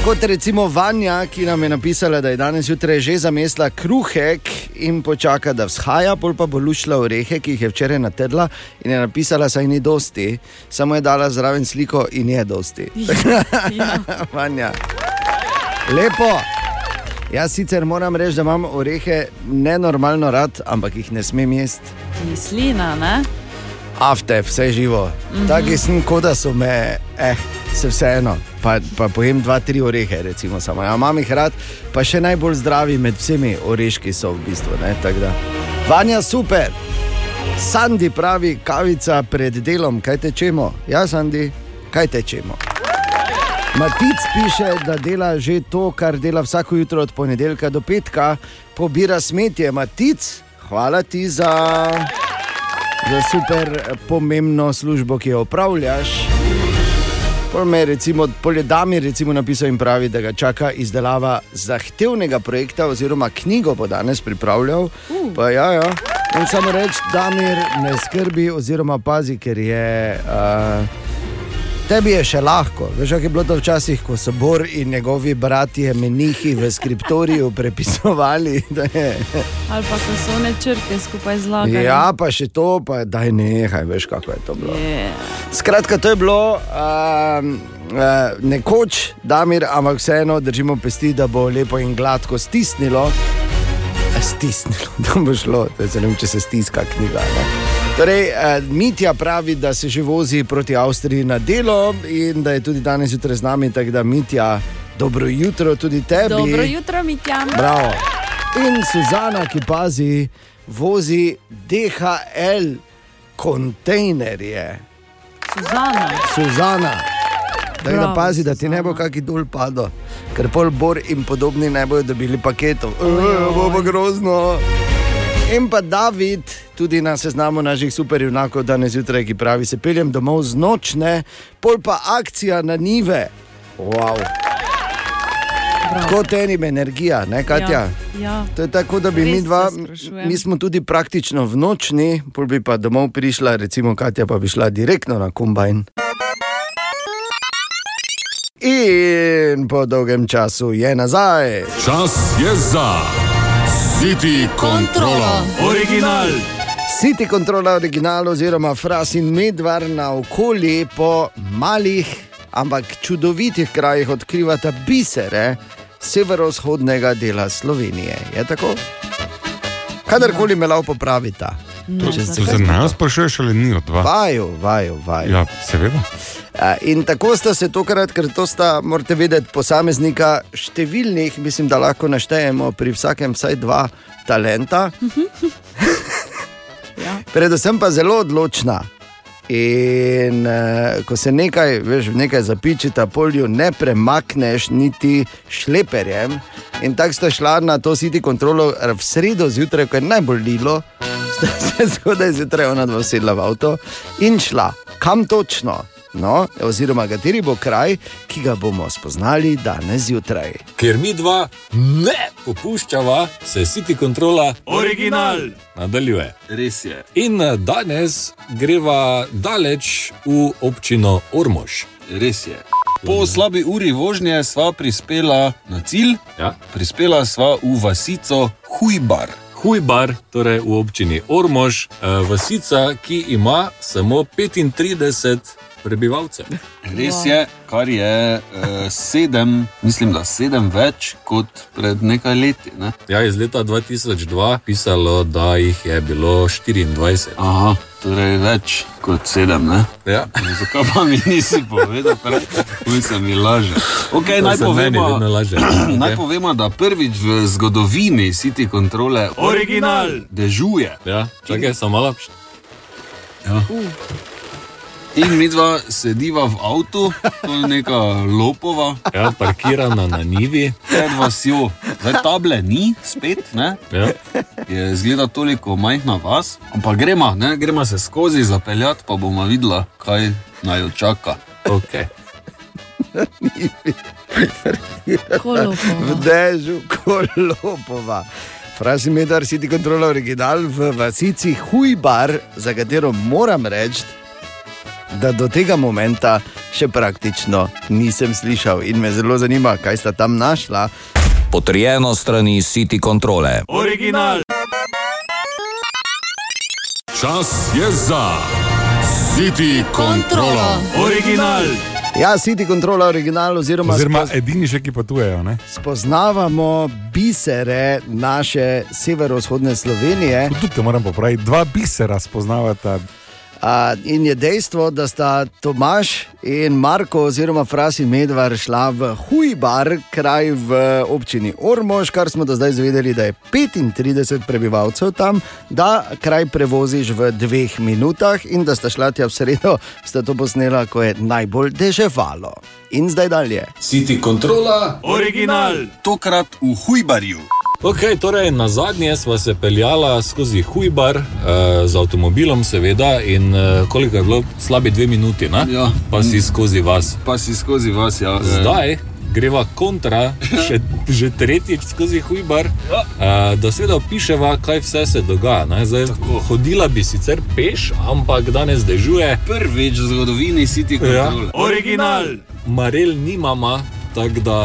[SPEAKER 4] Kot recimo Vanja, ki nam je napisala, da je danes jutraj že zamesla kruhek in počaka, da vzhaja, pol pa bo lušila orehe, ki jih je včeraj natrla in je napisala, saj ni dosti, samo je dala zraven sliko in je dosti. Vanja. Lepo. Jaz sicer moram reči, da imam orehe nenormalno rad, ampak jih ne smem jesti.
[SPEAKER 5] Kislina, ne?
[SPEAKER 4] afte, vse živo. Mm
[SPEAKER 5] Mhm.
[SPEAKER 4] -hmm. Taki sem, kot da so me, eh, se vseeno. Pa, pa pojem dva, tri orehe, recimo, samo. Ja, imam jih rad, pa še najbolj zdravi med vsemi oreški so v bistvu. Ne, tako da. Vanja super. Sandi pravi, kavica pred delom, kaj tečemo? Ja, Sandi, kaj tečemo? Matic piše, da dela že to, kar dela vsako jutro od ponedeljka do petka, pobira smetje. Matic, hvala ti za, za super eh, pomembno službo, ki jo opravljaš. Pol me je recimo, pol je Damir recimo napisal in pravi, da ga čaka izdelava zahtevnega projekta, oziroma knjigo bo danes pripravljal. Uh. Pa, ja, ja. In samo reči, Damir ne skrbi, oziroma pazi, ker je. Uh, Tebi je še lahko, veš, kako je bilo to včasih, ko so Bor in njegovi bratje menihi v skriptoriju prepisovali. da je-
[SPEAKER 5] Ali pa ko so one črke skupaj zlagali.
[SPEAKER 4] Ja, pa še to, pa daj nehaj, veš, kako je to bilo.
[SPEAKER 5] Je.
[SPEAKER 4] Skratka, to je bilo um, uh, nekoč, Damir, ampak vseeno držimo pesti, da bo lepo in gladko stisnilo. Eh, Stisnilo, da bo šlo, da se ne vem, če se stiska knjiga. Ne? Torej, uh, Mitja pravi, da se že vozi proti Avstriji na delo in da je tudi danes zjutraj z nami, tako da Mitja, dobro jutro tudi tebi.
[SPEAKER 5] Dobro jutro, Mitja.
[SPEAKER 4] Bravo. In Suzana, ki pazi, vozi DHL kontejnerje.
[SPEAKER 5] Suzana.
[SPEAKER 4] Suzana. Tako da
[SPEAKER 5] Bravo,
[SPEAKER 4] pazi, da ti ne bo kaki dol padlo, ker pol bor in podobni ne bodo dobili paketov. E, bo pa grozno. In pa David, tudi na seznamu naših superjunakov danes zjutraj, ki pravi: se peljem domov z nočne, pol pa akcija na nive. Wow. Kot enim energija, ne Katja?
[SPEAKER 5] Ja. ja.
[SPEAKER 4] To je tako, da bi
[SPEAKER 5] Res
[SPEAKER 4] mi
[SPEAKER 5] se
[SPEAKER 4] dva,
[SPEAKER 5] sprašujem.
[SPEAKER 4] mi smo tudi praktično v nočni, pol bi pa domov prišla, recimo Katja pa bi šla direktno na kombajn. In po dolgem času je nazaj.
[SPEAKER 18] Čas je za City Control, original.
[SPEAKER 4] City kontrola original oziroma fras in medvar na okolje po malih, ampak čudovitih krajih odkrivata bisere severovzhodnega dela Slovenije. Je tako? Kadarkoli me lahko popravita.
[SPEAKER 3] To,
[SPEAKER 4] Če se
[SPEAKER 3] to
[SPEAKER 4] kaj
[SPEAKER 3] se nas sprašuješ ali ni od dva?
[SPEAKER 4] Vaju, vaju, vaju.
[SPEAKER 3] Ja, seveda.
[SPEAKER 4] Eh, In tako sta se tokrat, ker to sta, morate vedeti, posameznika številnih, mislim, da lahko naštejemo pri vsakem vsaj dva talenta. Predvsem pa zelo odločna. In uh, ko se nekaj, veš, v nekaj zapičita polju, ne premakneš niti šleperjem. In tako sta šla na to siti kontrolo eh, v sredo zjutraj, ko je najbolj lilo, sta se zgodaj zjutraj ona dva sedla v avto in šla. Kam točno? No, oziroma, kateri bo kraj, ki ga bomo spoznali danes zjutraj.
[SPEAKER 14] Ker mi dva ne popuščava, se City Controla
[SPEAKER 18] Original.
[SPEAKER 14] nadaljuje. Res je. In eh, danes greva daleč v občino Ormož.
[SPEAKER 12] Res je. Po slabi uri vožnje sva prispela na cilj, ja. prispela sva v vasico Hujbar.
[SPEAKER 14] Hujbar, torej v občini Ormož, eh, vasica, ki ima samo 35 prebivalcev.
[SPEAKER 12] Res je, kar je eh, sedem, mislim, da sedem več kot pred nekaj leti. Ne?
[SPEAKER 14] Ja, iz leta 2002 pisalo, da jih je bilo 24.
[SPEAKER 12] Aha, torej več kot sedem. Ne? No,
[SPEAKER 14] Ja.
[SPEAKER 12] Zakaj pa mi nisi povedal, prej? Uj se mi laže. Okay,
[SPEAKER 14] To
[SPEAKER 12] naj
[SPEAKER 14] se meni
[SPEAKER 12] povemo-
[SPEAKER 14] vedno laže.
[SPEAKER 12] Naj
[SPEAKER 14] Ok.
[SPEAKER 12] povemo, da prvič v zgodovini City Controle
[SPEAKER 14] Original.
[SPEAKER 12] dežuje.
[SPEAKER 14] Ja, čakaj, samo malo.
[SPEAKER 12] Ja. In mi dva sediva v avtu, to je neka lopova.
[SPEAKER 14] Ja, parkirana na nivi.
[SPEAKER 12] Pred vasjo, zdaj table ni, spet ne.
[SPEAKER 14] Ja.
[SPEAKER 12] Je zgleda toliko majhna vas, ampak gremo, ne, gremo se skozi zapeljati, pa bomo videla, kaj naj jo čaka.
[SPEAKER 14] Okay.
[SPEAKER 5] ja,
[SPEAKER 4] V dežju Kolopova. Frazi Medar si ti kontrola original v vasici Hujbar, za katero moram reči, da do tega momento še praktično nisem slišal in me zelo zanima, kaj sta tam našla.
[SPEAKER 1] Potrjeno strani City kontrole.
[SPEAKER 18] Original. Čas je za City Control, original.
[SPEAKER 4] Ja, City Controla original oziroma,
[SPEAKER 3] Oziroma,
[SPEAKER 4] spoz-
[SPEAKER 3] edini še, ki potujejo. Ne?
[SPEAKER 4] spoznavamo bisere naše severovzhodne Slovenije.
[SPEAKER 3] Tudi te moram popraviti, dva bisera spoznavata.
[SPEAKER 4] A, in je dejstvo, da sta Tomaš in Marko, oziroma Fras in Medvar, šla v Hujbar, kraj v občini Ormož, kar smo do zdaj izvedeli, da je 35 prebivalcev tam, da kraj prevoziš v dveh minutah in da sta šla tja v sredo, sta to posnela, ko je najbolj deževalo. In zdaj dalje.
[SPEAKER 18] City kontrola,
[SPEAKER 14] Original.
[SPEAKER 18] tokrat v Hujbarju.
[SPEAKER 14] Ok, torej na zadnje sva se peljala skozi Hujbar, eh, z avtomobilom, seveda, in eh, koliko je bilo, slabi dve minuti, ja. pa si skozi vas.
[SPEAKER 10] Pa si skozi vas, ja.
[SPEAKER 14] Zdaj greva kontra, še, že tretjič skozi Hujbar,
[SPEAKER 10] Ja.
[SPEAKER 14] eh, da seveda opiševa, kaj vse se dogaja. ne. Zdaj, hodila bi sicer peš, ampak danes dežuje.
[SPEAKER 10] Prvič v zgodovini si ti
[SPEAKER 14] Ja. Marel nimama, tako da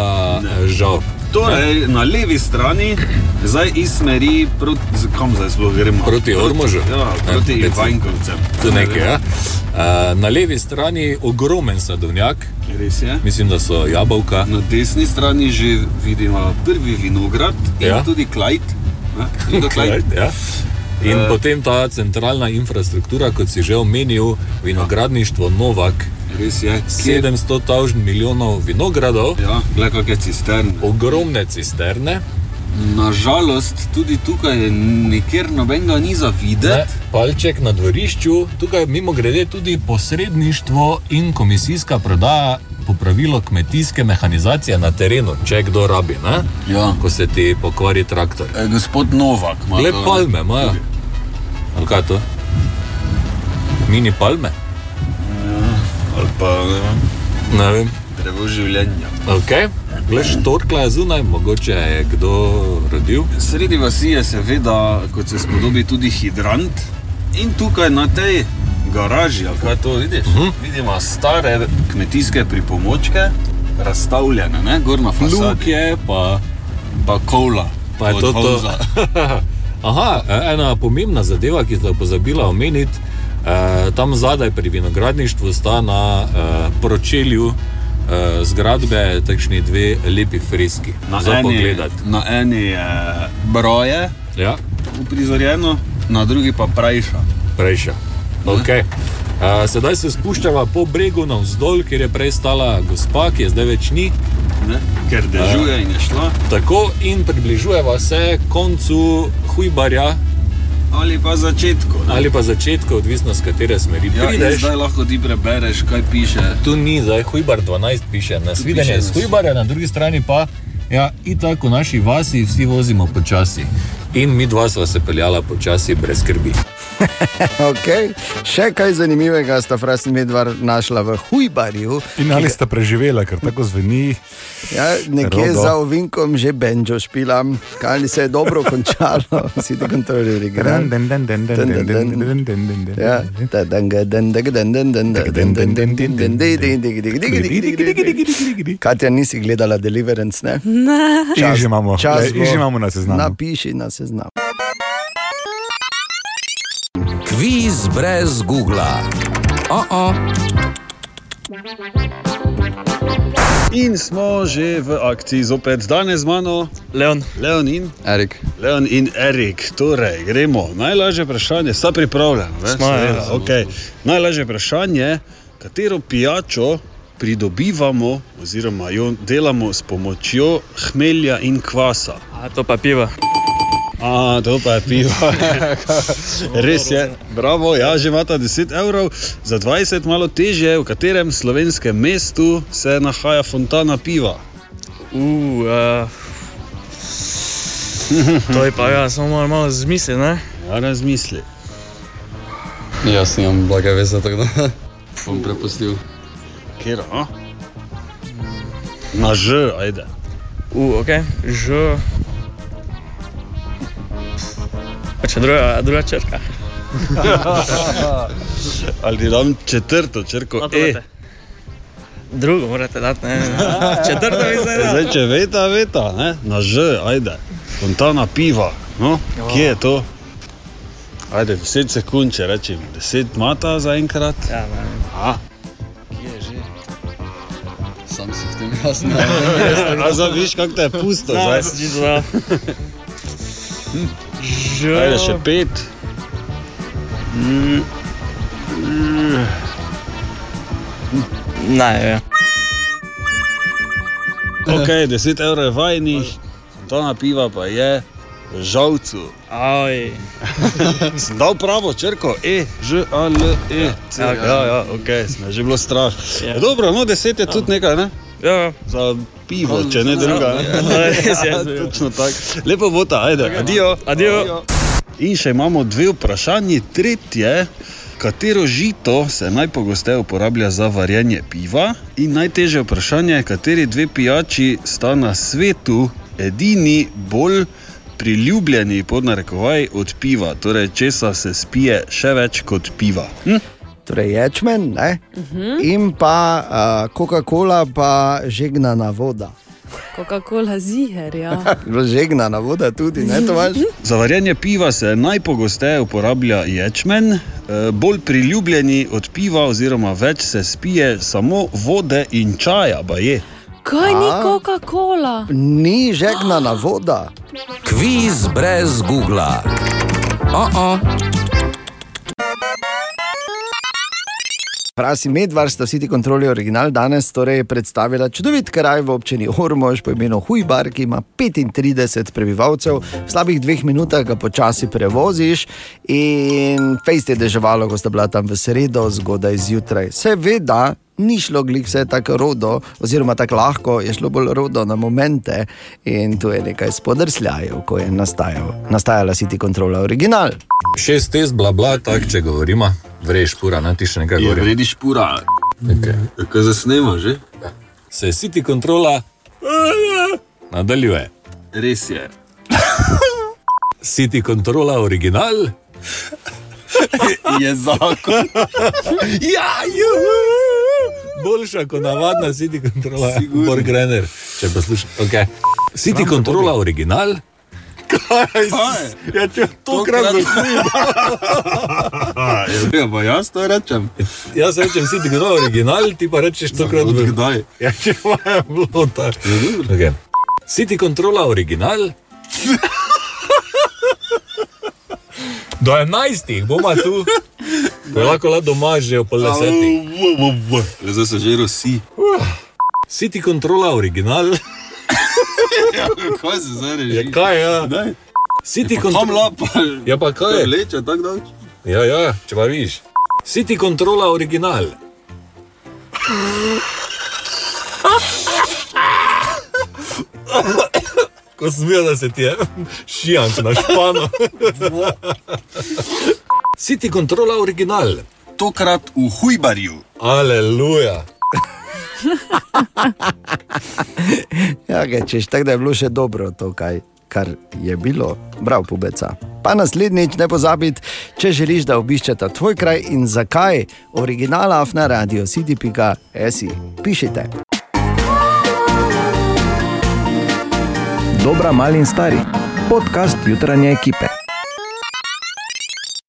[SPEAKER 14] eh, žal.
[SPEAKER 12] Torej, na levi strani, zdaj iz smeri, proti, kam zdaj sploh gremo?
[SPEAKER 14] Proti Ormožu. Eh,
[SPEAKER 12] Ja, proti Ivankovcem.
[SPEAKER 14] To nekaj, ja. Eh, Na levi strani ogromen sadovnjak.
[SPEAKER 12] Res je.
[SPEAKER 14] Mislim, da so jabolka.
[SPEAKER 12] Na desni strani že vidimo prvi vinograd in
[SPEAKER 14] Ja.
[SPEAKER 12] ja. tudi Klajt.
[SPEAKER 14] Klajt, ja. In
[SPEAKER 12] Eh.
[SPEAKER 14] potem ta centralna infrastruktura, kot si že omenil, vinogradništvo Novak.
[SPEAKER 12] Res je.
[SPEAKER 14] 700 tavžn milijonov vinogradov.
[SPEAKER 12] Ja, le kakšne cisterne.
[SPEAKER 14] Ogromne cisterne.
[SPEAKER 12] Nažalost, tudi tukaj nikjer nobenega ni za
[SPEAKER 14] Ne,
[SPEAKER 12] videti.
[SPEAKER 14] palček na dvorišču, tukaj mimo grede tudi posredništvo in komisijska prodaja, popravilo kmetijske mehanizacije na terenu, če kdo rabi, ne?
[SPEAKER 10] Ja.
[SPEAKER 14] ko se ti pokvari traktor.
[SPEAKER 10] E, gospod Novak, ima
[SPEAKER 14] Le
[SPEAKER 10] to-
[SPEAKER 14] palme imajo. Ali kaj je to? Mini palme?
[SPEAKER 12] Ja, Ali pa ne vem.
[SPEAKER 14] Ne vem.
[SPEAKER 12] Drevo življenja.
[SPEAKER 14] Okay. Gleš, torkla je zunaj, mogoče je kdo rodil.
[SPEAKER 12] Sredi vasi je seveda, kot se spodobi, tudi hidrant. In tukaj na tej garaži, ali kaj to vidiš, uh
[SPEAKER 14] Mhm.
[SPEAKER 12] -huh. vidimo stare kmetijske pripomočke, razstavljene, ne? gorna fasada.
[SPEAKER 14] Luk je, pa,
[SPEAKER 12] pa kola.
[SPEAKER 14] Pa je
[SPEAKER 12] od
[SPEAKER 14] to to.
[SPEAKER 12] Holza.
[SPEAKER 14] Aha, e, ena pomembna zadeva, ki ste jo pozabili omeniti, eh, tam zadaj pri vinogradništvu sta na eh, pročelju eh, zgradbe takšni dve lepi freski. Za
[SPEAKER 12] eni,
[SPEAKER 14] pogled.
[SPEAKER 12] na eni je broje,
[SPEAKER 14] ja.
[SPEAKER 12] uprizorjeno, na drugi pa prajša.
[SPEAKER 14] Prejša. Okay. Uh, sedaj se spuščava po bregu navzdol, kjer je prej stala gospa, ki je zdaj več ni. Eh.
[SPEAKER 12] Ne? Ker dežuje in je šla.
[SPEAKER 14] Tako in približujeva se koncu hujbarja.
[SPEAKER 12] Ali pa začetku.
[SPEAKER 14] Ne? Ali pa začetku, odvisno z katere smeri
[SPEAKER 12] Ja, in
[SPEAKER 14] prideš.
[SPEAKER 12] zdaj lahko ti prebereš, kaj piše.
[SPEAKER 14] Tu ni zdaj hujbar 12, piše na
[SPEAKER 12] piše
[SPEAKER 14] svidenje
[SPEAKER 12] nas-
[SPEAKER 14] z hujbarja, na drugi strani pa ja, in tako v naši vasi vsi vozimo počasi. In mi dva sva se peljala počasi, brez skrbi.
[SPEAKER 4] Okay. Še kaj zanimivega sta Fras in Medvar našla v Hujbarju.
[SPEAKER 3] In ali sta preživela, ker tako zveni.
[SPEAKER 4] Ja, nekje
[SPEAKER 3] Rodo.
[SPEAKER 4] Rodo. za ovinkom že benjo špilam, kaj se je dobro končalo, si ti kontrolirali.
[SPEAKER 3] Den, den, den, den, den, den, den, den, den, den, den.
[SPEAKER 4] Ja, Katja, nisi gledala Deliverance, ne?
[SPEAKER 5] Ne.
[SPEAKER 3] In že imamo,
[SPEAKER 4] čas
[SPEAKER 3] le, in
[SPEAKER 4] bo.
[SPEAKER 3] Hm. Ja, že imamo na seznamu.
[SPEAKER 4] Napiši na seznam.
[SPEAKER 1] Kviz brez Google. Oh -oh.
[SPEAKER 12] In smo že v akciji zopet danes z mano, Leon, Leon in Erik. Leon in Erik, torej gremo. Najlažje vprašanje, sta pripravljen, ne?
[SPEAKER 19] Sva, ja.
[SPEAKER 12] Seveda, okay. Najlažje vprašanje, katero pijačo pridobivamo oziroma jo delamo s pomočjo hmelja in kvasa.
[SPEAKER 19] A to pa piva.
[SPEAKER 12] A, to pa je pivo. Res je, bravo, ja, že imata 10 evrov, za 20 malo teže, v katerem slovenskem mestu se nahaja fontana piva.
[SPEAKER 19] Uh, uh, to je pa ja, samo malo, malo zmisli, ne?
[SPEAKER 12] Ja, razmisli.
[SPEAKER 20] Jaz nimam Ja, blage veze, tako da bom prepustil.
[SPEAKER 12] Kjer,
[SPEAKER 19] no?
[SPEAKER 12] a? Na Ž, ajde.
[SPEAKER 19] Uh, ok, že. Pa če druga, druga črka.
[SPEAKER 12] Ali ti dam četrto črko?
[SPEAKER 19] No, to date. Drugo morate dati, ne? Četrto bi zdaj dal.
[SPEAKER 12] Zdaj, če veta, veta, ne? na Ž, ajde. Fontana piva, no? kje je to? Ajde, 10 sekund, če rečem, 10 mata zaenkrat.
[SPEAKER 19] Ja, ne.
[SPEAKER 12] A,
[SPEAKER 20] Kje je že? Sam si v tem jasno.
[SPEAKER 12] A zdaj viš, kako te je pusto
[SPEAKER 20] Ja,
[SPEAKER 12] zdaj?
[SPEAKER 20] sem čisto, ja.
[SPEAKER 12] Že. Ajde, še pet. Mm.
[SPEAKER 21] Ne, ja.
[SPEAKER 12] Ok, 10 evrov je vajnih, ta napiva pa je v žalcu. Aj. Sem dal pravo črko, E, Ž, A, L, E. C.
[SPEAKER 21] Ja,
[SPEAKER 12] Ja,
[SPEAKER 21] ja.
[SPEAKER 12] ja, ok, sem že bilo strah. Dobro, no 10 je tudi nekaj, ne? Ja. Za pivo, če ne druga.
[SPEAKER 21] Ja, res je.
[SPEAKER 12] Ja, Točno tako. Lepo bo ta, ajde. Adijo.
[SPEAKER 21] Adijo.
[SPEAKER 12] In še imamo dve vprašanje, tretje. Katero žito se najpogosteje uporablja za varjenje piva? In najtežje vprašanje je, kateri dve pijači sta na svetu edini bolj priljubljeni pod narekovaj od piva, torej česa se spije še več kot piva. Hm?
[SPEAKER 4] Torej, ječmen ne? in pa uh, Coca-Cola, pa žegnana voda.
[SPEAKER 5] Coca-Cola ziger, ja.
[SPEAKER 4] žegnana voda tudi, ne to veš?
[SPEAKER 12] Za varjenje piva se najpogosteje uporablja ječmen, eh, bolj priljubljeni od piva, oziroma več se spije samo vode in čaja, baje.
[SPEAKER 5] Kaj ni
[SPEAKER 12] A?
[SPEAKER 5] Coca-Cola?
[SPEAKER 4] Ni žegnana voda.
[SPEAKER 22] Kviz brez Google. Oh -oh.
[SPEAKER 4] Prasi Medvar sta vsi ti kontroli original danes torej predstavila čudovit kraj v občini Ormož po imenu Hujbar, ki ima 35 prebivalcev, v slabih dveh minutah ga počasi prevoziš in fejst je deževalo, ko sta bila tam v sredo, zgodaj zjutraj. Seveda, ni šlo glih vse tako rodo, oziroma tako lahko, je šlo bolj rodo na momente in tu je nekaj spodrsljajev, ko je nastajal. Nastajala si ti kontrola original.
[SPEAKER 14] Šest test, bla bla, tak, če govorimo, vreš pura, ne ti še nekaj govoriš. Vrediš pura. Okay. Tako zasnemo že. Se si ti kontrola nadaljuje. Res je. Si ti kontrola original? je zakon. ja, juhu! Boljša kot navadna City kontrola, Borg Renner, če poslušaš. Okay. City kontrola original?
[SPEAKER 23] Kaj? Ja, če tokrat
[SPEAKER 14] Ja, pa jaz to rečem. Jaz rečem, si ti kdo original, ti pa rečeš tokrat v kdaj. Ja, če imajo blota. Okay. Si ti kontrola original? Do enajstih bomo tu, ko je lahko le doma že ob pol desetih. Zdaj se že rosi. Si ti kontrola original?
[SPEAKER 23] Ja, kaj se zdaj reče?
[SPEAKER 14] Ja, kaj je? Si ti kontrola? Ja, pa kaj je?
[SPEAKER 23] Leče, tako da.
[SPEAKER 14] Ja, ja, če pa viš. Si ti kontrola original? Ko sem videl, da se ti je šijan na špano. Si ti kontrola original? Tokrat v Hujbarju. Aleluja.
[SPEAKER 4] Ja, ga, češ tako, da je bilo še dobro to, kaj, kar je bilo. Prav, pubeca. Pa naslednjič ne pozabi, če želiš, da obiščeta tvoj kraj in zakaj, originala na radio cd.si. Pišite.
[SPEAKER 24] Dobra, mali in stari. Podcast jutranje ekipe.